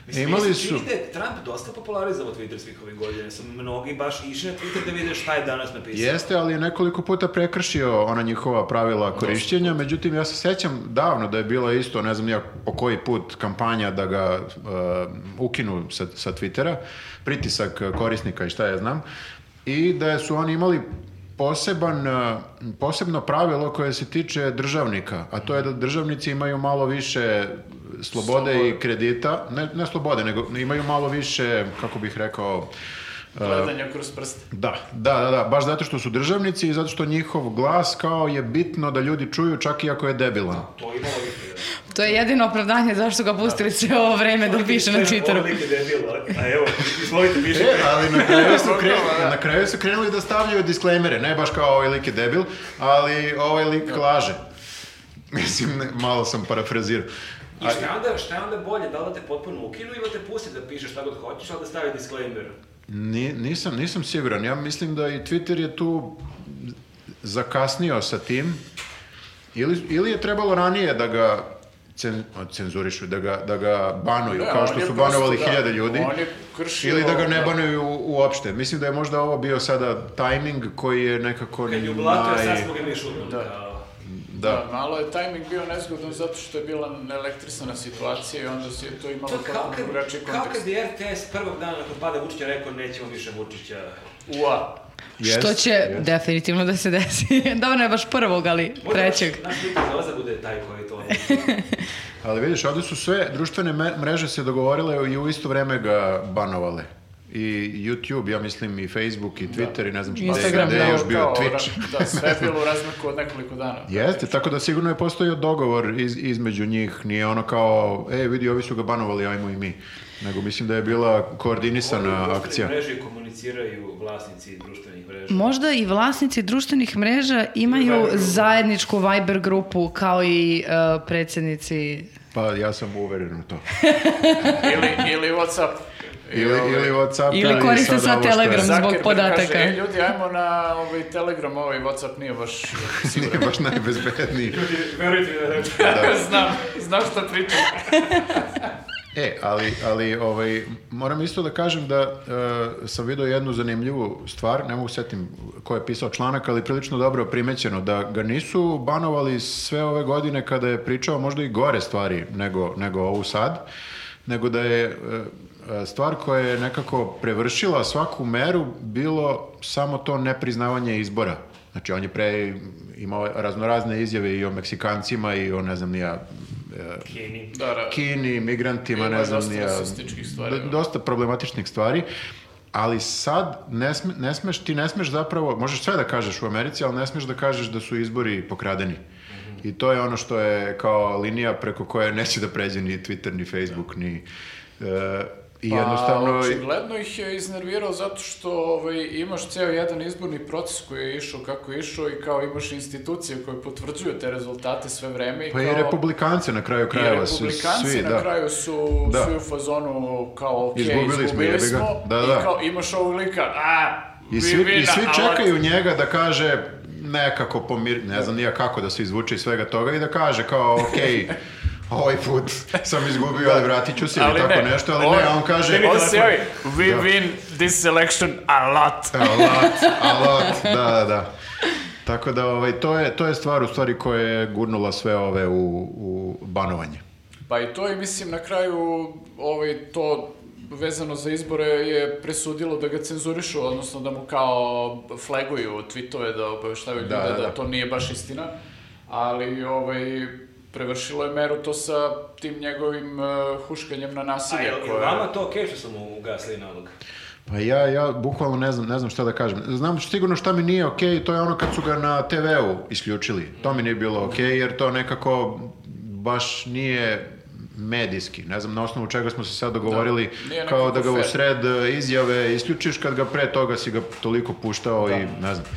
Mislim,
Imali
Imali su... Čini
su-
da je Trump dosta popularizao Twitter svih ovih godina. Su mnogi baš išli na Twitter da vide šta je danas napisao.
Jeste, ali je nekoliko puta prekršio ona njihova pravila korišćenja, međutim ja se sećam davno da je bila isto, ne znam ja po koji put, kampanja da ga e, ukinu sa, sa Twittera, pritisak e, korisnika i šta ja znam, i da su oni imali poseban, e, posebno pravilo koje se tiče državnika, a to je da državnici imaju malo više slobode, i kredita, ne, ne slobode, nego imaju malo više, kako bih rekao,
Gledanja kroz prste.
da, da, da, da, baš zato što su državnici i zato što njihov glas kao je bitno da ljudi čuju čak i ako je debilan.
To ima logike.
To je jedino opravdanje zašto ga pustili sve ovo vreme da piše na Twitteru.
Ovo lik je debil, ali- a evo, izvolite više.
E, ali na kraju, su krenuli, na kraju su krenuli da stavljaju disklejmere, ne baš kao ovaj lik je debil, ali ovaj lik laže. Mislim, ne, malo sam parafrazirao.
I šta je onda, šta je onda bolje, da li da te potpuno ukinu ili da te pusti da pišeš šta god hoćeš, ali da stavi disclaimer.
Ni, nisam, nisam siguran, ja mislim da i Twitter je tu zakasnio sa tim, ili, ili je trebalo ranije da ga cen, cenzurišu, da ga, da ga banuju,
Ne,
kao
on
što
je
su
prosto,
banovali
da,
hiljade ljudi.
on je kršio-
Ili da ga ne banuju uopšte. Mislim da je možda ovo bio sada timing koji je nekako
Kad je ublatio,
naj-
sad smo ga mi šutnuli. Da.
Da.
malo je tajming bio nezgodan zato što je bila elektrisana situacija i onda se je to imalo
To je kao
potpuno
kad,
drugačiji
kao kad
kontekst.
je RTS prvog dana nakon pada Vučića rekao nećemo više Vučića.
Ua,
Jest,
Što će
jest.
definitivno da se desi. Dobro, ne baš prvog, ali
Možda
trećeg.
Naš, naš Twitter Zoza bude taj koji to...
Ali vidiš, ovdje su sve društvene me- mreže se dogovorile i u isto vreme ga banovale. I YouTube, ja mislim, i Facebook, i Twitter, i ne znam šta.
Instagram,
Gde je
da,
još bio
Da. kao
Twitch.
ra- Da, sve je bilo u razmaku od nekoliko dana.
Jeste, tako da sigurno je postojao dogovor iz- između njih. Nije ono kao, e, vidi, ovi su ga banovali, ajmo i mi. Nego mislim da je bila koordinisana akcija.
mreži komuniciraju vlasnici društvenih mreža.
Možda i vlasnici društvenih mreža imaju zajedničku Viber grupu kao i e, predsjednici
Pa ja sam uveren u to.
Ili, ili Whatsapp. ovaj
Ili, ili WhatsApp.
Ili koriste sva Telegram. Zbog
Zuckerberg
podataka.
Kaže, e, ljudi, ajmo na ovaj Telegram, ovaj Whatsapp nije baš
Nije
siguran.
baš najbezbedniji.
Verujte mi da ne
znam, znam šta pričam.
E, ali, ali ovaj, moram isto da kažem da e, sam vidio jednu zanimljivu stvar, ne mogu setim ko je pisao članak, ali prilično dobro primećeno, da ga nisu banovali sve ove godine kada je pričao možda i gore stvari nego, nego ovu sad, nego da je e, e, stvar koja je nekako prevršila svaku meru bilo samo to nepriznavanje izbora. Znači, on je pre imao raznorazne izjave i o Meksikancima i o, ne znam, e, nija,
Kini.
Da, da.
Kini, migrantima,
Ima
ne znam,
dosta
ni ja,
rasističkih stvari, da.
d-
ono.
dosta problematičnih stvari, ali sad ne, sme, ne smeš, ti ne smeš zapravo, možeš sve da kažeš u Americi, ali ne smeš da kažeš da su izbori pokradeni. I to je ono što je kao linija preko koje neće da pređe ni Twitter, ni Facebook, ni... e, I
Pa,
jednostavno...
očigledno ih je iznervirao zato što ovaj, imaš ceo jedan izborni proces koji je išao kako je išao i kao imaš institucije koje potvrđuju te rezultate sve vreme.
Pa
kao,
i republikance na kraju
i
krajeva su
republikanci
svi,
na
da.
kraju su,
Da.
su u fazonu kao ok,
Izgubili smo,
izgubili,
jebi ga.
smo,
Da,
i
da.
kao imaš ovog lika, a,
I
vi
svi, I
vina,
svi
a ovaj-
čekaju njega da kaže nekako pomir, ne znam nija kako da se izvuče iz svega toga i da kaže kao ok, ovaj put sam izgubio, ali vratit ću se ili
Da. Ali
tako
ne,
nešto, ali ne,
on-
on kaže
On se javi, we
Da.
win this election a lot.
a lot, a lot, da, da, da. Tako da ovaj, to, je, to je stvar u stvari koja je gurnula sve ove u, u banovanje.
Pa i to i mislim na kraju ovaj, to vezano za izbore je presudilo da ga cenzurišu, odnosno da mu kao flaguju tvitove da obaveštavaju ljude
da,
da,
da.
to nije baš istina, ali ovaj, prevršilo je meru to sa tim njegovim eh, huškanjem na
A
nasilje.
je li
koje-
vama to okej što sam ugasili nalog?
Pa ja, ja bukvalno ne znam, ne znam šta da kažem. Znam sigurno šta mi nije okej, to je ono kad su ga na TV-u isključili. To mi nije bilo okej, jer to nekako baš nije medijski. Ne znam na osnovu čega smo se sad dogovorili
Da, nije
kao
nekako
da ga u
fair.
sred e, izjave isključiš kad ga pre toga si ga toliko puštao
Da.
i ne znam.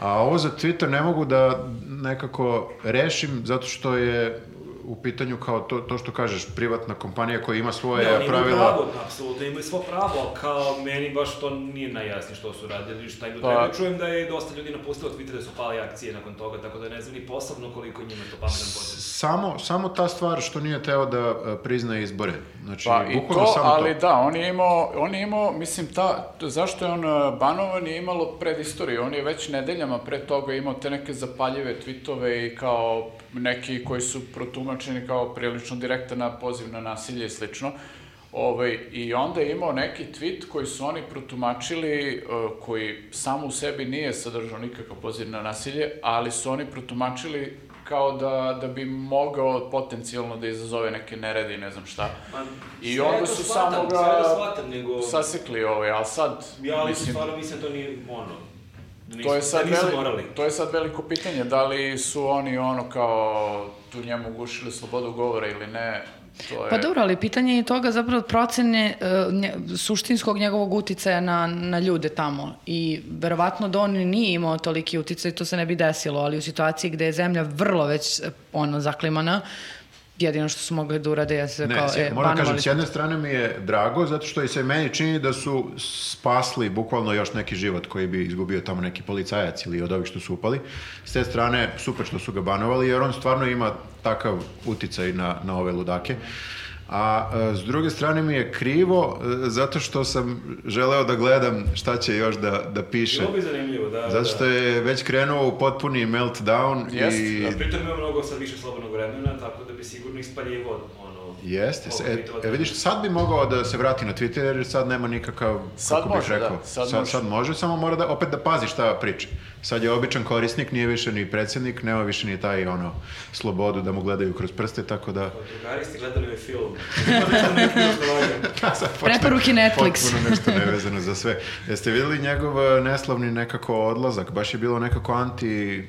A ovo za Twitter ne mogu da nekako rešim zato što je u pitanju kao to, to što kažeš privatna kompanija koja ima svoje
Ne, oni imaju
Pa pravila.
pravo, apsolutno imaju svo pravo, ali kao meni baš to nije najjasnije što su radili, šta im to
Pa-
treba. Čujem da je dosta ljudi napustilo Twitter da su pali akcije nakon toga, tako da ne znam ni posebno koliko njima je to pametan potez.
Samo, samo ta stvar što nije teo da e, prizna izbore. Znači,
Pa i
bukvalno
to,
samo
ali
to.
da, on je imao, on je imao, mislim, ta, t- zašto je on e, banovan je imalo pred istoriju, on je već nedeljama pre toga imao te neke zapaljive tweetove i kao neki koji su protumačeni kao prilično direktan na poziv na nasilje i slično. Ovaj, I onda je imao neki tweet koji su oni protumačili, e, koji sam u sebi nije sadržao nikakav poziv na nasilje, ali su oni protumačili kao da, da bi mogao potencijalno da izazove neke nerede i ne znam šta.
Ma,
Pa, I
sve
onda
to
su
shvatam,
samo
Sve
ga
da shvatam, nego...
sasekli ovaj, ali sad,
Ja lično
mislim,
stvarno mislim to nije da ono... Da nisu,
To je, sad
da nisu
veli-
morali.
to je sad veliko pitanje, da li su oni ono kao tu njemu gušili slobodu govora ili ne, to
E.
je...
Pa dobro, ali pitanje je toga zapravo procene e, nje- suštinskog njegovog uticaja na, na ljude tamo. I verovatno da on nije imao toliki uticaj, to se ne bi desilo, ali u situaciji gde je zemlja vrlo već e, ono zaklimana, jedino što su mogli da urade jeste
Ne,
kao,
sje-
e,
moram da kažem,
banovali
s
smo.
jedne strane mi je drago, zato što i se meni čini da su spasli bukvalno još neki život koji bi izgubio tamo neki policajac ili od ovih što su upali. S te strane, super što su ga banovali, jer on stvarno ima takav uticaj na, na ove ludake. A e, s druge strane mi je krivo e, zato što sam želeo da gledam šta će još da, da piše.
Bilo bi zanimljivo, da.
Zato što
da.
je već krenuo u potpuni meltdown i...
Jeste,
da, Pritom ima mnogo sad više slobodnog vremena, tako da bi sigurno ispaljivo ono...
Jeste, se,
mogu biti
e, e, vidiš, sad bi mogao da se vrati na Twitter, jer sad nema nikakav,
Sad
kako bih
može,
rekao.
da, sad
sad,
može.
sad može, samo mora da, opet da pazi šta priča. Sad je običan korisnik, nije više ni predsjednik, nema više ni taj, ono, slobodu da mu gledaju kroz prste, tako da...
Drugari ste gledali ovaj film. Možda neki razgovaraju.
Sad počne
Preporuke Netflix.
Potpuno nešto nevezano za sve. Jeste vidjeli njegov e, neslavni nekako odlazak? Baš je bilo nekako anti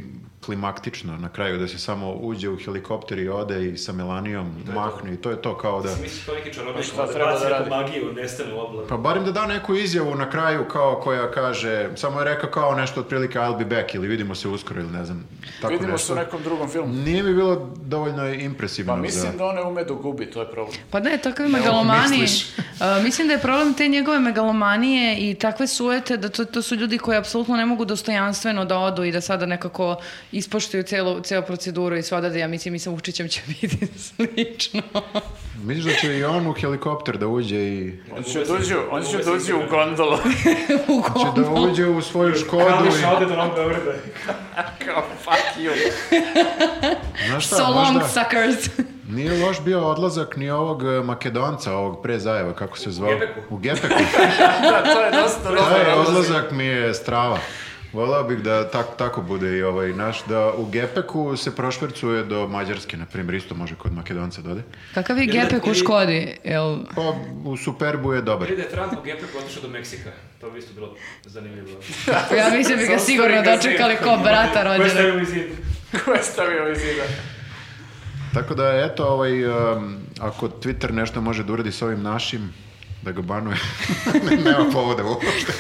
klimaktično na kraju, da se samo uđe u helikopter i ode i sa Melanijom
Da,
mahne i to je to kao da...
Mislim to je neki čarobnik,
šta
pa
treba da
baci neku
radi?
magiju, nestane u oblak.
Pa barem da da neku izjavu na kraju kao koja kaže, samo je rekao kao nešto otprilike I'll be back ili vidimo se uskoro ili ne znam, tako
vidimo se
nešto.
u nekom drugom filmu.
Nije mi bilo dovoljno impresivno
Pa mislim
za...
da on ne ume da gubi, to je problem.
Pa da je takve megalomanije.
misliš.
A, mislim da je problem te njegove megalomanije i takve sujete da to, to su ljudi koji apsolutno ne mogu dostojanstveno da odu i da sada nekako ispoštuju celu, ceo proceduru i sve odade. Ja mislim i sa Vučićem će biti slično.
Misliš da će i on u helikopter da uđe i...
Pa
On će dođu, on će dođu u gondolu.
U
Će da
Gondolu.
uđe u svoju škodu
Kališ
i...
da ode do Novog Beograda.
Kao, fuck you.
Znaš šta,
So long,
možda
suckers.
nije loš bio odlazak ni ovog e, Makedonca, ovog pre Zajeva, kako se zvao?
Gepeku.
U Gepeku.
Da, to je dosta
Taj
dobro.
odlazak mi je strava. Volao bih da tak, tako bude i ovaj naš, da u Gepeku se prošvercuje do Mađarske, na primjer, isto može kod Makedonca dode.
Kakav je
Jel da
gepek u
ti-
Škodi? Jel...
Pa u Superbu je dobar.
Ili da je Trump u Gepeku otišao do Meksika. To bi isto bilo zanimljivo.
Ja mislim bi ga sigurno
ga
dočekali ko brata
Ko je
rođene.
stavio u zid?
Ko je stavio ovaj iz zida?
Tako da, eto, ovaj, um, ako Twitter nešto može da uradi s ovim našim, da ga banuje. Ne- Nema povoda uopšte.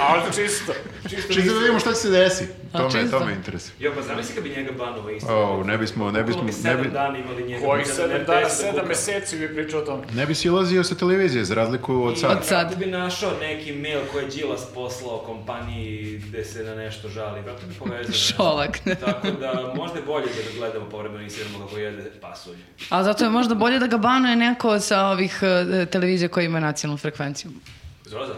Ali čisto.
Čisto da vidimo šta će se desi.
A,
To me,
čisto.
to me interesuje.
Jo, pa zamisli kad bi njega banuo isto.
O, ne bismo, ne bismo,
Koliko bi
ne
sedam
bi,
dana imali njega.
Kojih
Nikada ne
sedam
bi
dana,
desilo
sedam
buka.
meseci bi pričao o tom.
ne bi silazio sa televizije, za razliku od sad.
Od sad.
Kako bi našao neki mail koji je Đilas poslao kompaniji gde se na nešto žali, vratno bi povezao nešto.
Šolak.
Tako da možda je bolje da ga gledamo povremeno i sjedamo kako jede pasulj.
A zato je možda bolje da ga banuje neko sa ovih eh, televizija koja ima nacionalnu frekvenciju.
Zoza?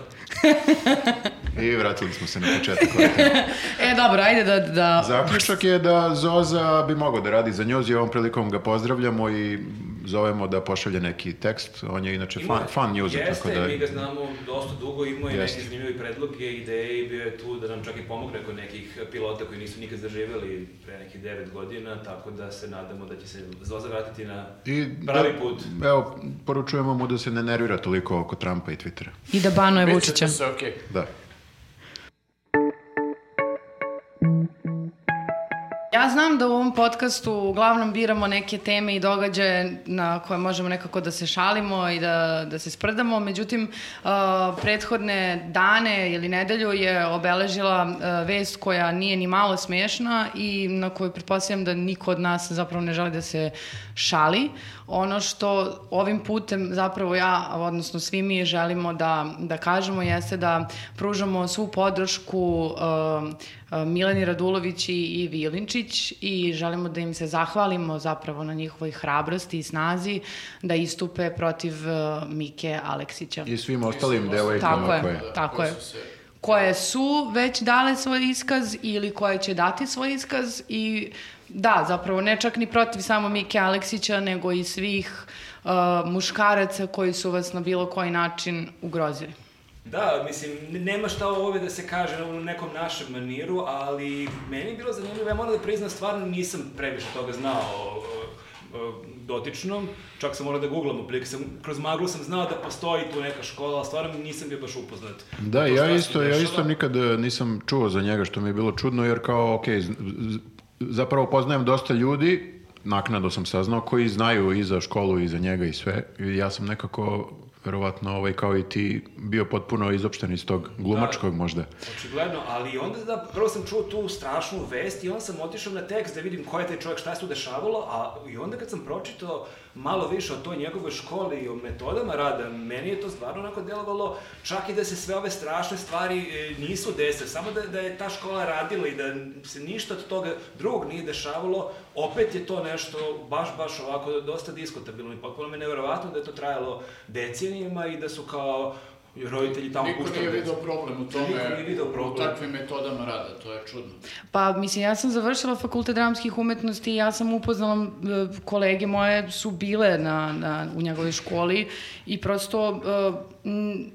I vratili smo se na početak.
Da.
ove teme.
E, dobro, ajde da... da...
Zaključak je da Zoza bi mogao da radi za njuz i ovom prilikom ga pozdravljamo i zovemo da pošalje neki tekst. On je inače fan, fan njuza,
Jeste,
tako da...
mi ga znamo dosta dugo, imao je
Jeste.
neke zanimljive predloge, ideje i bio je tu da nam čak i pomogne kod nekih pilota koji nisu nikad zaživjeli pre nekih 9 godina, tako da se nadamo da će se Zoza vratiti na
I
pravi
da-
put.
Evo, poručujemo mu da se ne nervira toliko oko Trumpa i Twittera.
I da banuje
Bit
Vučića.
ćete se, okej.
Da.
Ja znam da u ovom podcastu uglavnom biramo neke teme i događaje na koje možemo nekako da se šalimo i da, da se sprdamo, međutim, uh, prethodne dane ili nedelju je obeležila uh, vest koja nije ni malo smešna i na koju pretpostavljam da niko od nas zapravo ne želi da se šali. Ono što ovim putem zapravo ja, odnosno svi mi želimo da, da kažemo jeste da pružamo svu podršku uh, Mileni Radulović i, i Vilinčić i želimo da im se zahvalimo zapravo na njihovoj hrabrosti i snazi da istupe protiv e, Mike Aleksića.
I svim ostalim
Tako
devojkama koje...
je, tako je.
Koji su se-
Koje su već dale svoj iskaz ili koje će dati svoj iskaz i da, zapravo ne čak ni protiv samo Mike Aleksića, nego i svih e, muškaraca koji su vas na bilo koji način ugrozili.
Da, mislim, n- nema šta ovdje da se kaže u nekom našem maniru, ali meni je bilo zanimljivo, ja moram da priznam, stvarno nisam previše toga znao o- o- o dotičnom, čak sam morao da googlam oblike, sam, kroz maglu sam znao da postoji tu neka škola, ali stvarno nisam bio baš upoznat.
Da,
To šta
ja
se
isto, ja
dešava.
isto nikad e, nisam čuo za njega, što mi je bilo čudno, jer kao, ok, zapravo poznajem dosta ljudi, naknadno sam saznao, koji znaju i za školu i za njega i sve. I ja sam nekako, verovatno, ovaj, kao i ti, bio potpuno izopšten iz tog
Da.
glumačkog možda.
Očigledno, ali onda da, prvo sam čuo tu strašnu vest i onda sam otišao na tekst da vidim ko je taj čovjek, šta se tu dešavalo, a i onda kad sam pročitao malo više o toj njegovoj školi i o metodama rada, meni je to stvarno onako delovalo, čak i da se sve ove strašne stvari e, nisu desile, samo da, da je ta škola radila i da se ništa od toga drugog nije dešavalo, opet je to nešto baš, baš ovako dosta diskutabilno i potpuno mi je nevjerovatno da je to trajalo decenijima i da su kao roditelji tamo
Niko
puštali
nije
decu.
video problem u tome,
Niko nije video problem.
u takvim metodama rada, to je čudno.
Pa, mislim, ja sam završila fakultet dramskih umetnosti i ja sam upoznala, e, kolege moje su bile na, na, u njegovoj školi i prosto e, m,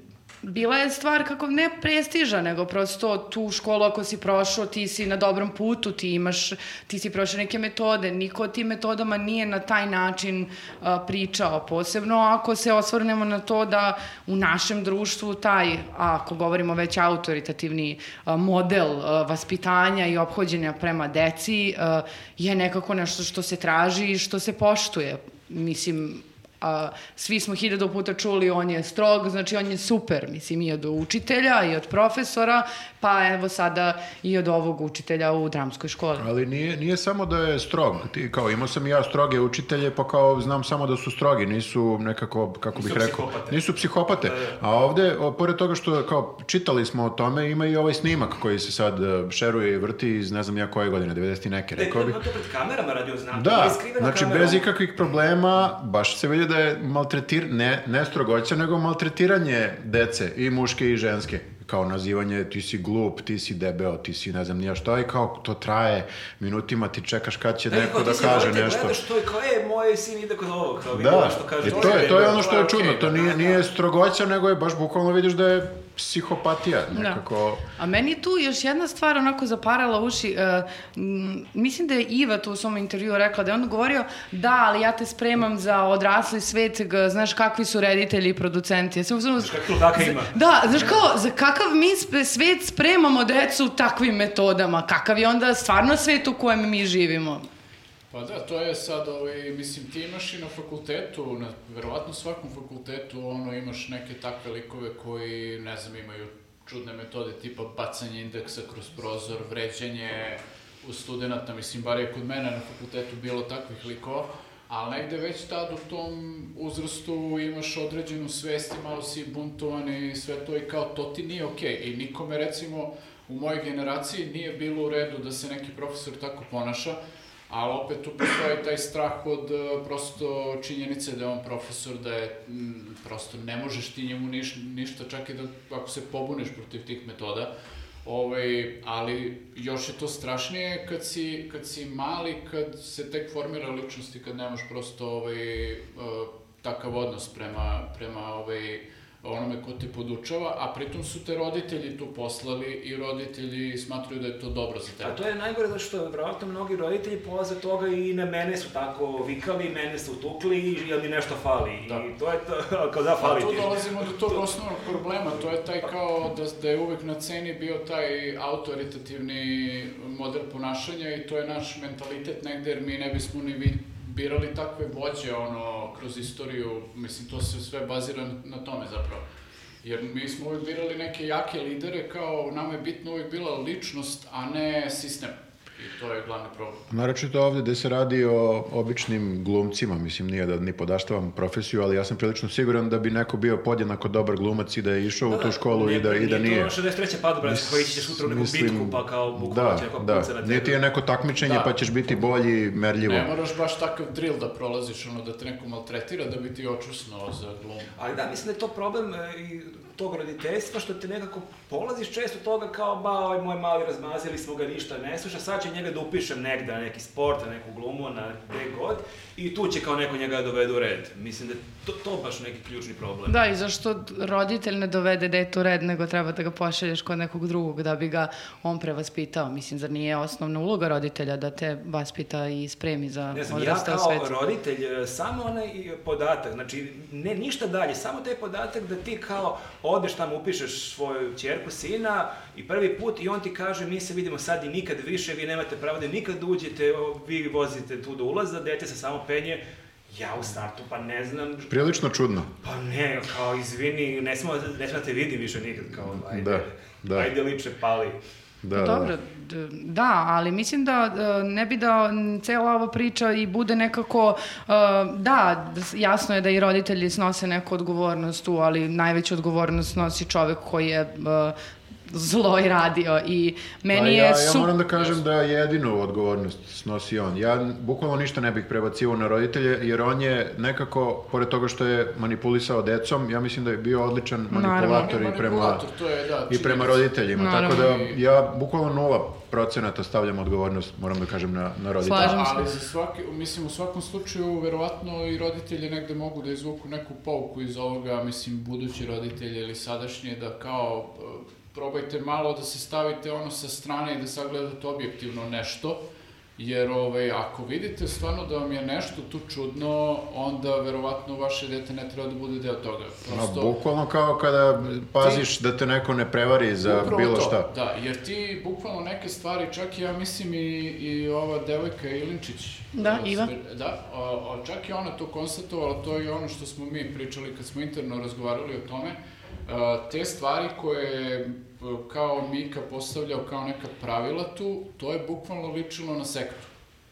bila je stvar kako ne prestiža, nego prosto tu školu ako si prošao, ti si na dobrom putu, ti imaš, ti si prošao neke metode, niko o tim metodama nije na taj način a, pričao, posebno ako se osvrnemo na to da u našem društvu taj, a ako govorimo već autoritativni a, model a, vaspitanja i ophođenja prema deci a, je nekako nešto što se traži i što se poštuje. Mislim, a, svi smo hiljadu puta čuli on je strog, znači on je super, mislim i od učitelja i od profesora, pa evo sada i od ovog učitelja u dramskoj školi.
Ali nije, nije samo da je strog. Ti, kao, imao sam i ja stroge učitelje, pa kao znam samo da su strogi, nisu nekako, kako bih rekao,
psihopate.
nisu psihopate. A ovde, o, pored toga što kao, čitali smo o tome, ima i ovaj snimak koji se sad e, šeruje i vrti iz ne znam ja koje godine, 90 i neke,
Da,
rekao bih.
da, to pred kamerama radio, znam.
Da,
je skrivena
znači
kamerom.
bez ikakvih problema, baš se vidi da je maltretir, ne, ne strogoća, nego maltretiranje dece, i muške i ženske. Kao nazivanje, ti si glup, ti si debeo, ti si ne znam nija šta, i kao to traje minutima, ti čekaš kad će
Da,
neko
kao,
da
ti si
kaže
roditelj,
nešto.
Gledaš to i kao, e, moj sin ide kod ovog, kao vidi
Da,
što kaže.
i to je, to je ono što je
ok,
čudno, to
da,
nije, nije strogoća, nego je baš bukvalno vidiš da je psihopatija
Da.
nekako.
A meni je tu još jedna stvar onako zaparala uši. e, m, mislim da je Iva tu u svom intervju rekla da je on govorio da, ali ja te spremam za odrasli svet, g- znaš kakvi su reditelji i producenti. Ja sam u fazonu,
Kako ludaka ima.
Da, znaš kao, za kakav mi spe- svet spremamo decu takvim metodama? Kakav je onda stvarno svet u kojem mi živimo?
Pa da, to je sad, ovaj, mislim, ti imaš i na fakultetu, na verovatno svakom fakultetu, ono, imaš neke takve likove koji, ne znam, imaju čudne metode tipa bacanje indeksa kroz prozor, vređanje u studenta, mislim, bar je kod mene na fakultetu bilo takvih likova, ali negde već tad u tom uzrastu imaš određenu svest i malo si buntovan i sve to i kao to ti nije okej i nikome recimo u mojoj generaciji nije bilo u redu da se neki profesor tako ponaša, ali opet tu postoji taj strah od e, prosto činjenice da je on profesor, da je m, prosto ne možeš ti njemu niš, ništa, čak i da ako se pobuniš protiv tih metoda. Ovaj, ali još je to strašnije kad si, kad si mali, kad se tek formira ličnost i kad nemaš prosto ovaj, e, takav odnos prema, prema ovaj, onome ko te podučava, a pritom su te roditelji tu poslali i roditelji smatruju da je to dobro za tebe.
A to je najgore zato što verovatno mnogi roditelji polaze od toga i na mene su tako vikali, mene su tukli i ja mi nešto fali.
Da.
I to je to, kao da
Pa
fali
tu
ti.
dolazimo do tog osnovnog problema, to je taj kao da, da je uvek na ceni bio taj autoritativni model ponašanja i to je naš mentalitet negde jer mi ne bismo ni vi- birali takve vođe ono, kroz istoriju, mislim to se sve bazira na tome zapravo. Jer mi smo uvek birali neke jake lidere kao nama je bitno uvek bila ličnost, a ne sistem. I to je glavni problem.
Pa Naročito ovde gde se radi o običnim glumcima, mislim nije da ni podaštavam profesiju, ali ja sam prilično siguran da bi neko bio podjednako dobar glumac i da je išao u tu školu i da, i da nije.
to ono 63. padobranska koji će sutra u neku bitku pa kao bukvalno
da,
će neko
da.
puca na tebe.
Niti je neko takmičenje
Da.
pa ćeš biti bolji merljivo.
Ne moraš baš takav drill da prolaziš, ono da te neko maltretira da bi ti očusnuo za glumu.
Ali da, mislim da je to problem e, i tog roditeljstva što te nekako polaziš često toga kao ba, ovaj moj mali razmazili smo ga ništa, ne sluša, sad će njega da upišem negde na neki sport, na neku glumu, na gde god i tu će kao neko njega da dovede u red. Mislim da je to, to baš neki ključni problem.
Da, i zašto roditelj ne dovede detu u red, nego treba da ga pošalješ kod nekog drugog da bi ga on prevaspitao. Mislim, zar nije osnovna uloga roditelja da te vaspita i spremi za
Ne znam, ja
odrastao
kao
svet?
roditelj, e, samo onaj e, podatak, znači ne ništa dalje, samo taj podatak da ti kao odeš tamo, upišeš svoju čerku, sina i prvi put i on ti kaže mi se vidimo sad i nikad više, vi nemate pravo da nikad uđete, o, vi vozite tu do ulaza, dete se samo penje, ja u startu pa ne znam,
Prilično čudno.
pa ne, kao izvini, ne smemo, ne smemo da te vidim više nikad, kao ajde,
Da, da.
ajde liče pali.
Da, da.
Dobro, d- da, ali mislim da e, ne bi da m, cela ova priča i bude nekako, e, da, s- jasno je da i roditelji snose neku odgovornost tu, ali najveću odgovornost nosi čovek koji je e, zlo i radio i meni
Pa
je
ja, ja
su...
moram da kažem da jedinu odgovornost snosi on. Ja n- bukvalno ništa ne bih prebacivao na roditelje, jer on je nekako, pored toga što je manipulisao decom, ja mislim da je bio odličan
Naravno.
manipulator i prema,
Manipulator, to je, da,
i prema
činjenica.
roditeljima. Tako da
Naravno.
ja bukvalno nula procenata stavljam odgovornost, moram da kažem, na, na roditelje.
Slažem se.
Ali za svaki, mislim, u svakom slučaju, verovatno i roditelji negde mogu da izvuku neku pouku iz ovoga, mislim, budući roditelji ili sadašnje, da kao e, probajte malo da se stavite ono sa strane i da sagledate objektivno nešto, jer ovaj, ako vidite stvarno da vam je nešto tu čudno, onda verovatno vaše dete ne treba da bude deo toga.
Ma,
Prosto,
bukvalno kao kada paziš da te neko ne prevari za
Upravo
bilo
to,
šta.
Da, jer ti bukvalno neke stvari, čak i ja mislim i, i ova devojka Ilinčić.
Da, Iva.
Da, o, o, čak i ona to konstatovala, to je ono što smo mi pričali kad smo interno razgovarali o tome. A, te stvari koje je m, kao Mika postavljao kao neka pravila tu, to je bukvalno ličilo na sektu.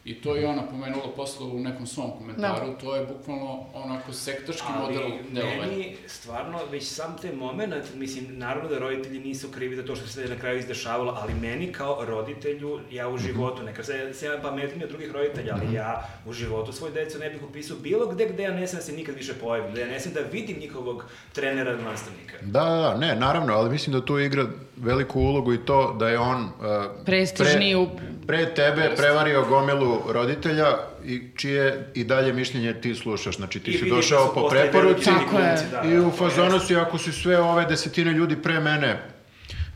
I to je ona pomenula posle u nekom svom komentaru, to je bukvalno onako sektaški model
Ali
delovanja.
meni stvarno, već sam taj moment, mislim, naravno da roditelji nisu krivi za to što se na kraju izdešavalo, ali meni kao roditelju, ja
Mhm.
u životu, neka se, se ja pametniji od drugih roditelja, ali ja u životu svoju decu ne bih upisao bilo gde gde ja ne sam da se nikad više pojavim, da ja ne sam da vidim njihovog trenera ili nastavnika.
Da, da, da, ne, naravno, ali mislim da tu igra veliku ulogu i to da je on... e,
Prestižni u-
pre tebe prevario gomilu roditelja i čije i dalje mišljenje ti slušaš. Znači ti
I
si
vidim da
došao
su
po
postali
preporuci
veliki
Tako je.
glumci, da,
i
da,
u
to
fazonu
jeste.
si ako su sve ove desetine ljudi pre mene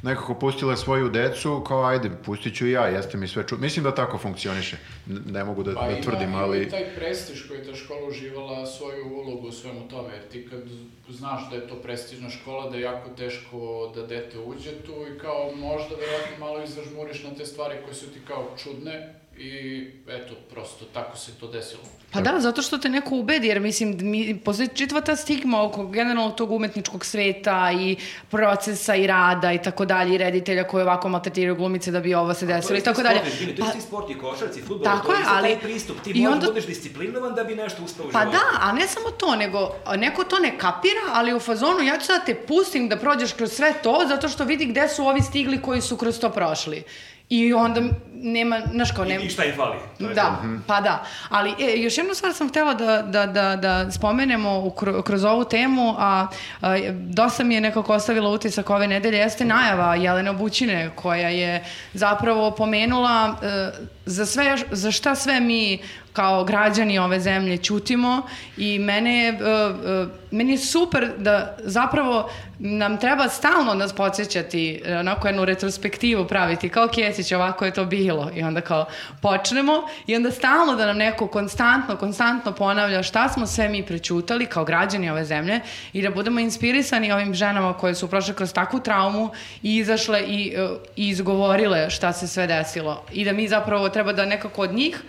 nekako pustile svoju decu, kao ajde, pustit ću i ja, jeste mi sve ču... Mislim da tako funkcioniše. N- Ne mogu da,
Pa
da
ima,
tvrdim,
ima
ali...
i taj prestiž koji je ta škola uživala svoju ulogu u svemu tome, jer ti kad znaš da je to prestižna škola, da je jako teško da dete uđe tu i kao možda verovatno malo i zažmuriš na te stvari koje su ti kao čudne i eto, prosto tako se to desilo.
Pa da, zato što te neko ubedi, jer mislim, mi, postoji čitva ta stigma oko generalno tog umetničkog sveta i procesa i rada i tako dalje, i reditelja koji ovako maltretiraju glumice da bi ovo se desilo i tako dalje.
Pa, to je isti sport i košarci, futbol, to
Tako
je
je,
isto taj
ali-
pristup, ti
i
možeš
onda-
da budeš disciplinovan da bi nešto uspeo u
Pa
životu.
da, a ne samo to, nego a, neko to ne kapira, ali u fazonu ja ću da te pustim da prođeš kroz sve to, zato što vidi gde su ovi stigli koji su kroz to prošli. I onda nema, znaš kao, nema...
I, I šta im fali? To je to.
Da, pa da. Ali e, još jednu stvar sam htela da, da, da, da spomenemo u, kro- kroz ovu temu, a, a dosta mi je nekako ostavila utisak ove nedelje, jeste najava Jelene Obućine koja je zapravo pomenula e, za, sve, za šta sve mi kao građani ove zemlje ćutimo i mene je, e, e, meni je super da zapravo nam treba stalno nas podsjećati, e, onako jednu retrospektivu praviti, kao Kjesić, ovako je to bilo. I onda kao počnemo i onda stalno da nam neko konstantno, konstantno ponavlja šta smo sve mi prećutali kao građani ove zemlje i da budemo inspirisani ovim ženama koje su prošle kroz takvu traumu i izašle i, e, i izgovorile šta se sve desilo. I da mi zapravo treba da nekako od njih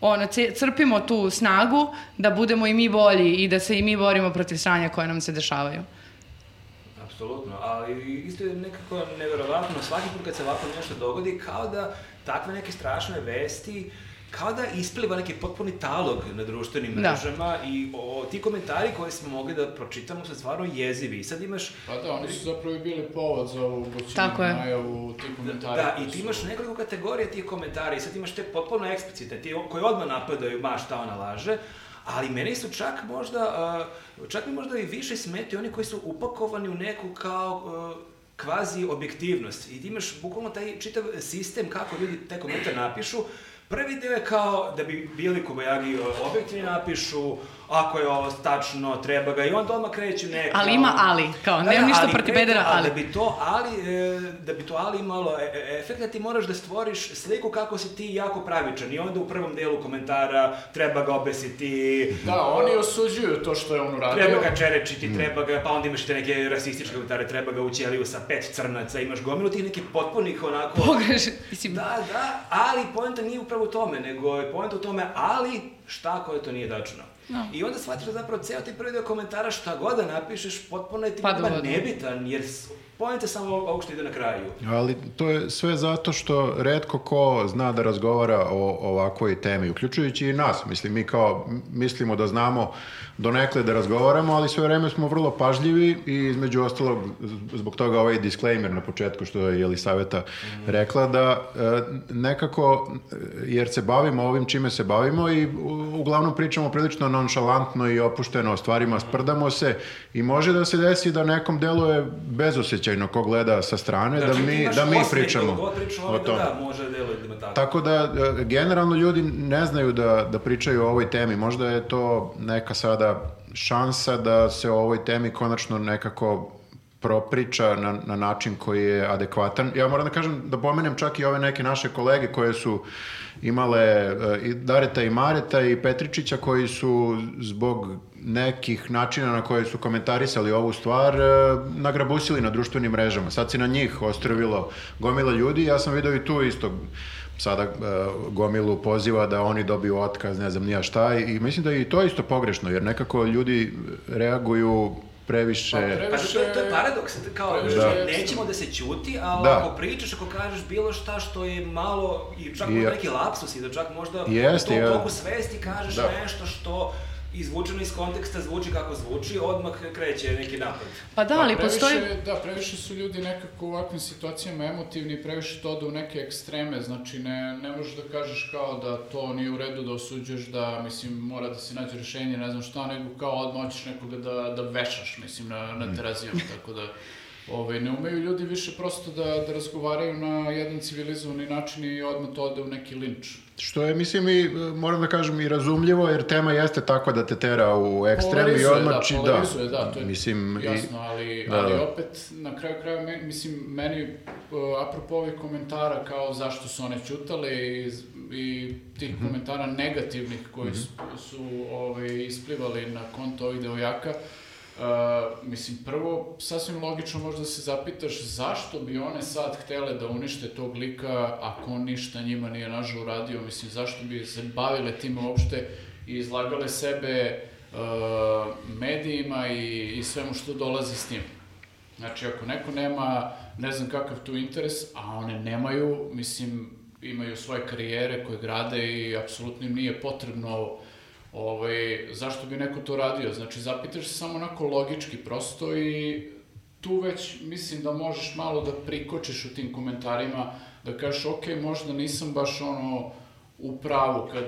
ono, ce- crpimo tu snagu da budemo i mi bolji i da se i mi borimo protiv sranja koje nam se dešavaju.
Apsolutno, ali isto je nekako neverovatno, svaki put kad se ovako nešto dogodi, kao da takve neke strašne vesti, kao da ispliva neki potpuni talog na društvenim
Da.
mrežama i o, ti komentari koje smo mogli da pročitamo su stvarno jezivi. I sad imaš
Pa da, oni su zapravo i bili povod za ovu bućinu
Tako je.
najavu, ti komentari.
Da,
koji
i ti
su-
imaš nekoliko kategorija tih komentara i sad imaš te potpuno eksplicitne, ti koji odmah napadaju, ma šta ona laže, Ali mene su čak možda, a, čak mi možda i više smetaju oni koji su upakovani u neku kao a, kvazi objektivnost. I ti imaš bukvalno taj čitav sistem kako ljudi te komentar napišu. Prvi deo je kao da bi bili kobajagi a, objektivni napišu ako je ovo tačno, treba ga i onda odmah kreću neka...
Ali ima ali, kao, nemam ništa
Da, ali
protiv
pre-
bedera,
a
ali.
Da bi to ali, e, da bi to ali imalo e- e- efekta, ti moraš da stvoriš sliku kako si ti jako pravičan. I onda u prvom delu komentara treba ga obesiti,
Da, oni osuđuju to što je on uradio.
treba ga čerečiti, treba ga, pa onda imaš te neke rasističke komentare, treba ga u ćeliju sa pet crnaca, imaš gomilu tih nekih potpunih onako...
Pogreš, mislim,
Da, da, ali poenta nije upravo u tome, nego je poenta u tome, ali šta ako je to nije tačno.
No.
I onda shvatiš da zapravo ceo ti prvi deo komentara šta god da napišeš, potpuno je ti
Pada u
pa
vodu.
nebitan, jer s- poenta je samo ovog što ide na kraju.
Ali to je sve zato što redko ko zna da razgovara o ovakvoj temi, uključujući i nas. Mislim, mi kao m- mislimo da znamo donekle da razgovaramo, ali sve vreme smo vrlo pažljivi i između ostalog z- zbog toga ovaj disclaimer na početku što je Jelisaveta rekla da e, nekako, e, jer se bavimo ovim čime se bavimo i u- uglavnom pričamo prilično nonšalantno i opušteno o stvarima, sprdamo se i može da se desi da nekom deluje bezosećajno ko gleda sa strane, da
Znači, ti
mi,
imaš
da mi
osmeh, koliko
pričamo
god pričamo
o
ovdje,
tome.
Da, može da deluje da ima tako.
Tako da, e, generalno ljudi ne znaju da, da pričaju o ovoj temi. Možda je to neka sada šansa da se o ovoj temi konačno nekako propriča na, na način koji je adekvatan. Ja moram da kažem, da pomenem čak i ove neke naše kolege koje su imale e, i Dareta i Mareta i Petričića koji su zbog nekih načina na koje su komentarisali ovu stvar e, nagrabusili na društvenim mrežama. Sad se na njih ostrovilo gomila ljudi. Ja sam video i tu isto sada e, gomilu poziva da oni dobiju otkaz, ne znam nija šta i mislim da je i to isto pogrešno jer nekako ljudi reaguju previše...
Pa
Pa
to, to, je- to je paradoks, kao,
previše
da.
je-
nećemo da se ćuti, ali
Da.
ako pričaš, ako kažeš bilo šta što je malo, i čak
I-
možda neki lapsus i da čak možda
Jeste,
u
ja.
tom toku svesti kažeš
Da.
nešto što izvučeno iz konteksta zvuči kako zvuči, odmah kreće neki napad.
pa da, ali postoji...
Da, previše su ljudi nekako u ovakvim situacijama emotivni, previše to ode u neke ekstreme, znači ne, ne možeš da kažeš kao da to nije u redu, da osuđuješ, da mislim mora da se nađe rešenje, ne znam šta, nego kao odmah hoćeš nekoga da, da vešaš, mislim, na,
Mm.
na terazijama, tako da... Ovaj, ne umeju ljudi više prosto da, da razgovaraju na jedan civilizovani način i odmah to ode u neki linč.
Što je, mislim, i, e, moram da kažem, i razumljivo, jer tema jeste takva da te tera u ekstrem i
Polarizuje,
odmači, da.
da, polarizuje, da, to je
mislim, i-
jasno, ali,
da,
ali
da.
opet, na kraju kraja, me- mislim, meni, uh, apropo ovih komentara kao zašto su one ćutale i, z- i tih komentara negativnih koji su, su ovaj, isplivali na konto ovih devojaka, Uh, mislim, prvo, sasvim logično možda se zapitaš zašto bi one sad htele da unište tog lika ako on ništa njima nije nažal uradio, mislim, zašto bi se bavile time uopšte i izlagale sebe uh, medijima i, i svemu što dolazi s tim. Znači, ako neko nema, ne znam kakav tu interes, a one nemaju, mislim, imaju svoje karijere koje grade i apsolutno im nije potrebno ovo. Ovaj, zašto bi neko to radio? Znači, zapitaš se samo onako logički prosto i tu već mislim da možeš malo da prikočiš u tim komentarima, da kažeš, ok, možda nisam baš ono u pravu kad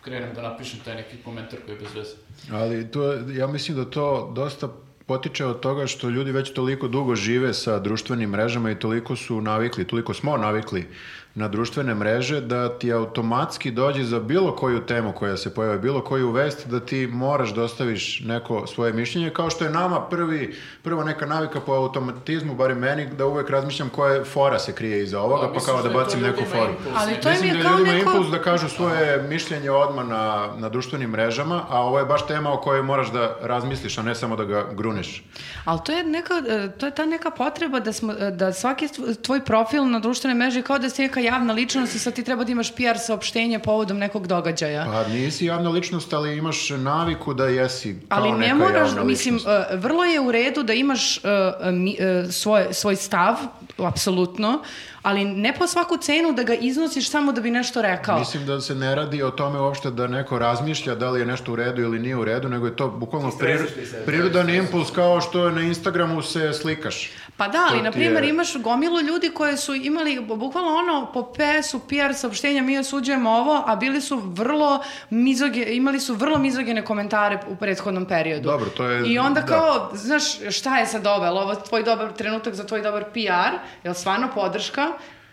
krenem da napišem taj neki komentar koji je bez veze.
Ali to, je- ja mislim da to dosta potiče od toga što ljudi već toliko dugo žive sa društvenim mrežama i toliko su navikli, toliko smo navikli na društvene mreže da ti automatski dođe za bilo koju temu koja se pojavi, bilo koju vest da ti moraš da ostaviš neko svoje mišljenje kao što je nama prvi prva neka navika po automatizmu barem meni da uvek razmišljam koja fora se krije iza ovoga pa
misliš
kao da
je to
bacim neku
ljudima
foru.
impuls,
Ali
ne?
to im
Mislim
je
da
kao
ljudima
neko...
impuls da kažu svoje mišljenje odmah na, na društvenim mrežama, a ovo je baš tema o kojoj moraš da razmisliš, a ne samo da ga gruneš.
Ali to je, neka, e, to je ta neka potreba da, smo, e, da svaki tv- tvoj profil na društvenoj mreži je kao da si neka javna ličnost i sad ti treba da imaš PR saopštenje povodom nekog događaja.
Pa nisi javna ličnost, ali imaš naviku da jesi kao
Ali ne
neka
moraš, da-
javna
mislim,
ličnost.
e, vrlo je u redu da imaš e, e, mi- e, svoje, svoj stav apsolutno, ali ne po svaku cenu da ga iznosiš samo da bi nešto rekao.
Mislim da se ne radi o tome uopšte da neko razmišlja da li je nešto u redu ili nije u redu, nego je to bukvalno
Istresiš
prir-
ti se.
prirodan impuls kao što je na Instagramu se slikaš.
Pa da,
To
ali
ti
na primjer
je-
imaš gomilu ljudi koji su imali bu- bukvalno ono po PS-u, PR saopštenja mi osuđujemo ovo, a bili su vrlo mizoge, imali su vrlo mizogene komentare u prethodnom periodu.
Dobro, to je-
I onda
da.
kao, znaš, šta je sad ovo? Jel Ovo je tvoj dobar trenutak za tvoj dobar PR, jel stvarno podrška?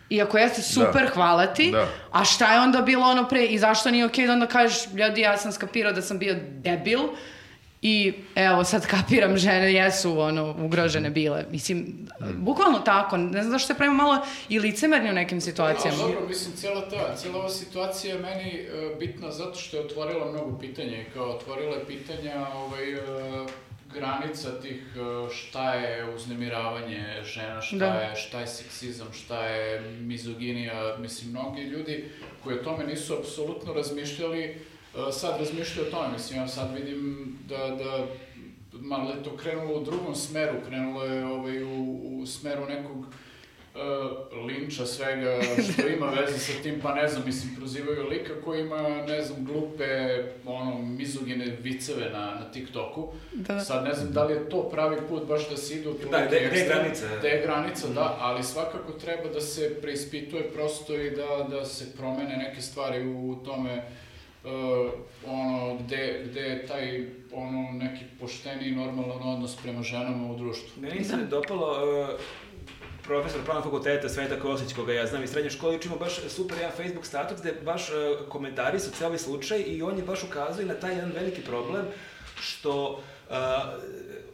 I ako jeste super, hvala ti.
Da.
A šta je onda bilo ono pre i zašto nije okej da onda kažeš, ljudi, ja sam skapirao da sam bio debil i evo sad kapiram žene jesu ono ugrožene bile. Mislim, bukvalno tako, ne znam zašto se pravimo malo i licemerni u nekim situacijama.
Ali dobro, mislim, cijela, ta, cijela ova situacija je meni e, bitna zato što je otvorila mnogo pitanja i kao otvorila je pitanja ovaj, e, granica tih e, šta je uznemiravanje žena, šta,
Da.
je, šta je seksizam, šta je mizoginija. Mislim, mnogi ljudi koji o tome nisu apsolutno razmišljali, e, sad razmišljaju o tome. Mislim, ja sad vidim da, da malo je to krenulo u drugom smeru, krenulo je ovaj, u, u smeru nekog e, linča svega što ima veze sa tim, pa ne znam, mislim, prozivaju lika koji ima, ne znam, glupe, ono, mizogene viceve na, na TikToku.
Da.
Sad ne znam da li je to pravi put baš da se ide u tu
Da,
neki
gde- gde je
ekstrem,
granica?
Gde je granica, da, ali svakako treba da se preispituje prosto i da, da se promene neke stvari u tome uh, ono, gde, gde je taj ono, neki pošteni i normalan odnos prema ženama u društvu.
Meni se dopalo uh, profesor pravnog fakulteta Sveta Kosić, koga ja znam iz srednje škole, učimo baš super jedan Facebook status gde baš uh, komentari su cijeli slučaj i on je baš ukazuje na taj jedan veliki problem što uh,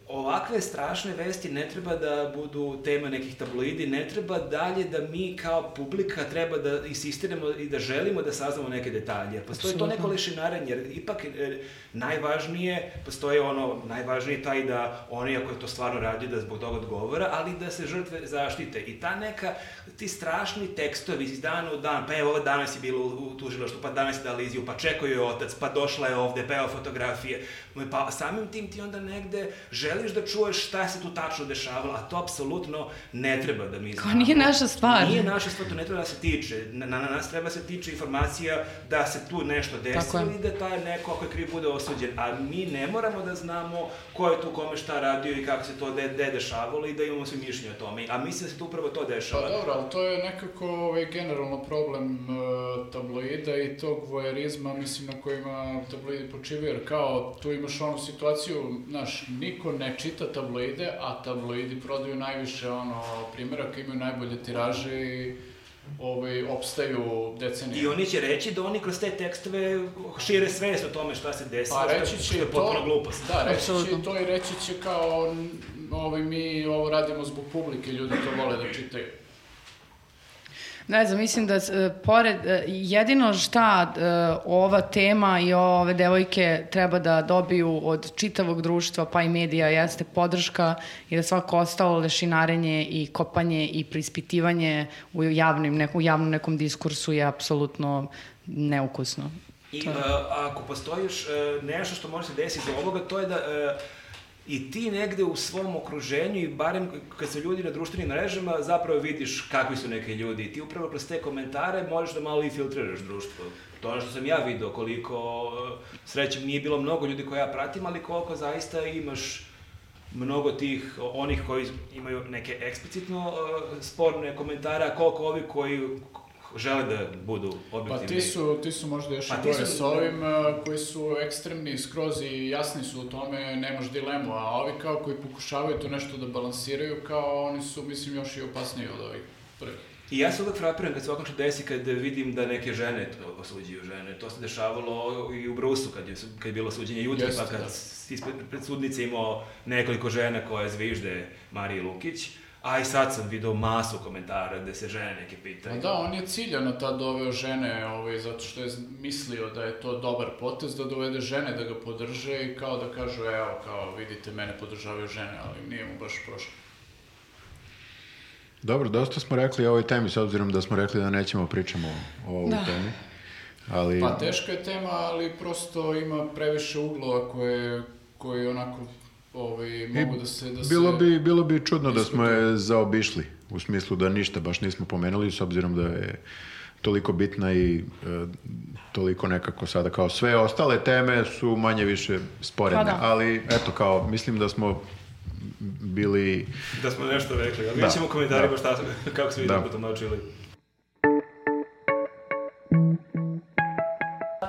ovakve strašne vesti ne treba da budu tema nekih tabloidi, ne treba dalje da mi kao publika treba da insistiramo i da želimo da saznamo neke detalje. Jer Postoji to neko lešinarenje, jer ipak e, najvažnije, postoje ono, najvažnije je taj da oni ako je to stvarno radi da zbog toga odgovora, ali da se žrtve zaštite. I ta neka, ti strašni tekstovi iz dana u dan, pa evo danas je bilo u, u tužilaštu, pa danas je dala izjavu, pa čekao je otac, pa došla je ovde, pa evo fotografije. Pa samim tim ti onda negde želiš da čuješ šta se tu tačno dešavalo, a to apsolutno ne treba da mi znamo.
nije naša stvar.
Nije naša stvar, to ne treba da se tiče. Na, na na nas treba da se tiče informacija da se tu nešto
Tako
desilo
je.
i da taj neko ako je kriv bude osuđen. A mi ne moramo da znamo ko je tu kome šta radio i kako se to de, de dešavalo i da imamo svi mišljenje o tome. A mislim da se tu upravo to
Pa
dešava.
dobro, ali to je nekako ovaj, generalno problem e, tabloida i tog vojerizma, mislim, na kojima tabloidi počivaju, jer kao tu imaš onu situaciju, znaš, niko ne čita tabloide, a tabloidi prodaju najviše ono, primjeraka, imaju najbolje tiraže i ovaj, opstaju decenije.
I oni će reći da oni kroz te tekstove šire svest o tome šta se desilo,
Pa
što je-
reći će
što je
i
potpuno
to,
glupost.
da, reći će
Apsolutno.
i to i reći će kao n- ovaj, mi ovo radimo zbog publike, ljudi to vole da čitaju.
Ne znam, mislim da e, pored, e, jedino šta e, ova tema i ove devojke treba da dobiju od čitavog društva pa i medija jeste podrška i da svako ostalo lešinarenje i kopanje i prispitivanje u, javnim, neku, u javnom nekom diskursu je apsolutno neukusno.
I uh, ako postoji još uh, nešto što može se desiti do ovoga, to je da uh, i ti negde u svom okruženju i barem kad su ljudi na društvenim mrežama zapravo vidiš kakvi su neki ljudi. I ti upravo kroz te komentare možeš da malo i filtriraš društvo. To je ono što sam ja video, koliko uh, srećem nije bilo mnogo ljudi koje ja pratim, ali koliko zaista imaš mnogo tih onih koji imaju neke eksplicitno uh, sporne komentare, a koliko ovi koji žele da budu
Pa
objektivni.
ti su, ti su možda još
Pa
i
ti
gore
su-
s ovim e, koji su ekstremni skroz i jasni su u tome, nemaš dilemu, a ovi kao koji pokušavaju to nešto da balansiraju, kao oni su, mislim, još i opasniji od ovih prvih.
I ja se uvek frapiram kad se ovako nešto desi kad vidim da neke žene to- osuđuju žene. To se dešavalo i u Brusu kad je, su- kad je bilo suđenje jutro,
Jeste,
pa kad
da.
si ispred pred sudnice imao nekoliko žena koje zvižde Mariji Lukić. A i sad sam video masu komentara gde se žene neke
Pa
pitaju.
da, on je ciljano tad doveo žene, ovaj, zato što je mislio da je to dobar potez, da dovede žene da ga podrže i kao da kažu, evo, kao, vidite, mene podržavaju žene, ali nije mu baš prošlo.
Dobro, dosta smo rekli o ovoj temi, s obzirom da smo rekli da nećemo pričamo o ovoj
Da.
temi. Ali,
Pa teška je tema, ali prosto ima previše uglova koje, koje onako ovaj, mogu da se... Da
bilo,
se...
bi, bilo bi čudno da smo je zaobišli u smislu da ništa baš nismo pomenuli s obzirom da je toliko bitna i e, toliko nekako sada kao sve ostale teme su manje više sporedne,
Pa da.
ali eto kao mislim da smo bili
Da smo nešto rekli, ali
Da.
vidjet ćemo u komentarima šta, kako smo
Da.
da. potomačili.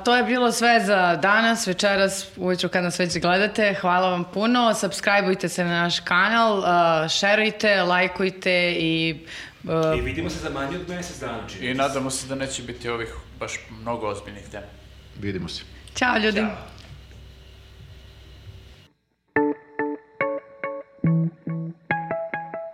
To je bilo sve za danas, večeras, ujutru kad nas već gledate. Hvala vam puno. Subscribeujte se na naš kanal, uh, šerujte, lajkujte i... uh,
I vidimo se za manje od mjesec dana, čini.
I nadamo se da neće biti ovih baš mnogo ozbiljnih tema.
vidimo se.
Ćao ljudi!
Ćao.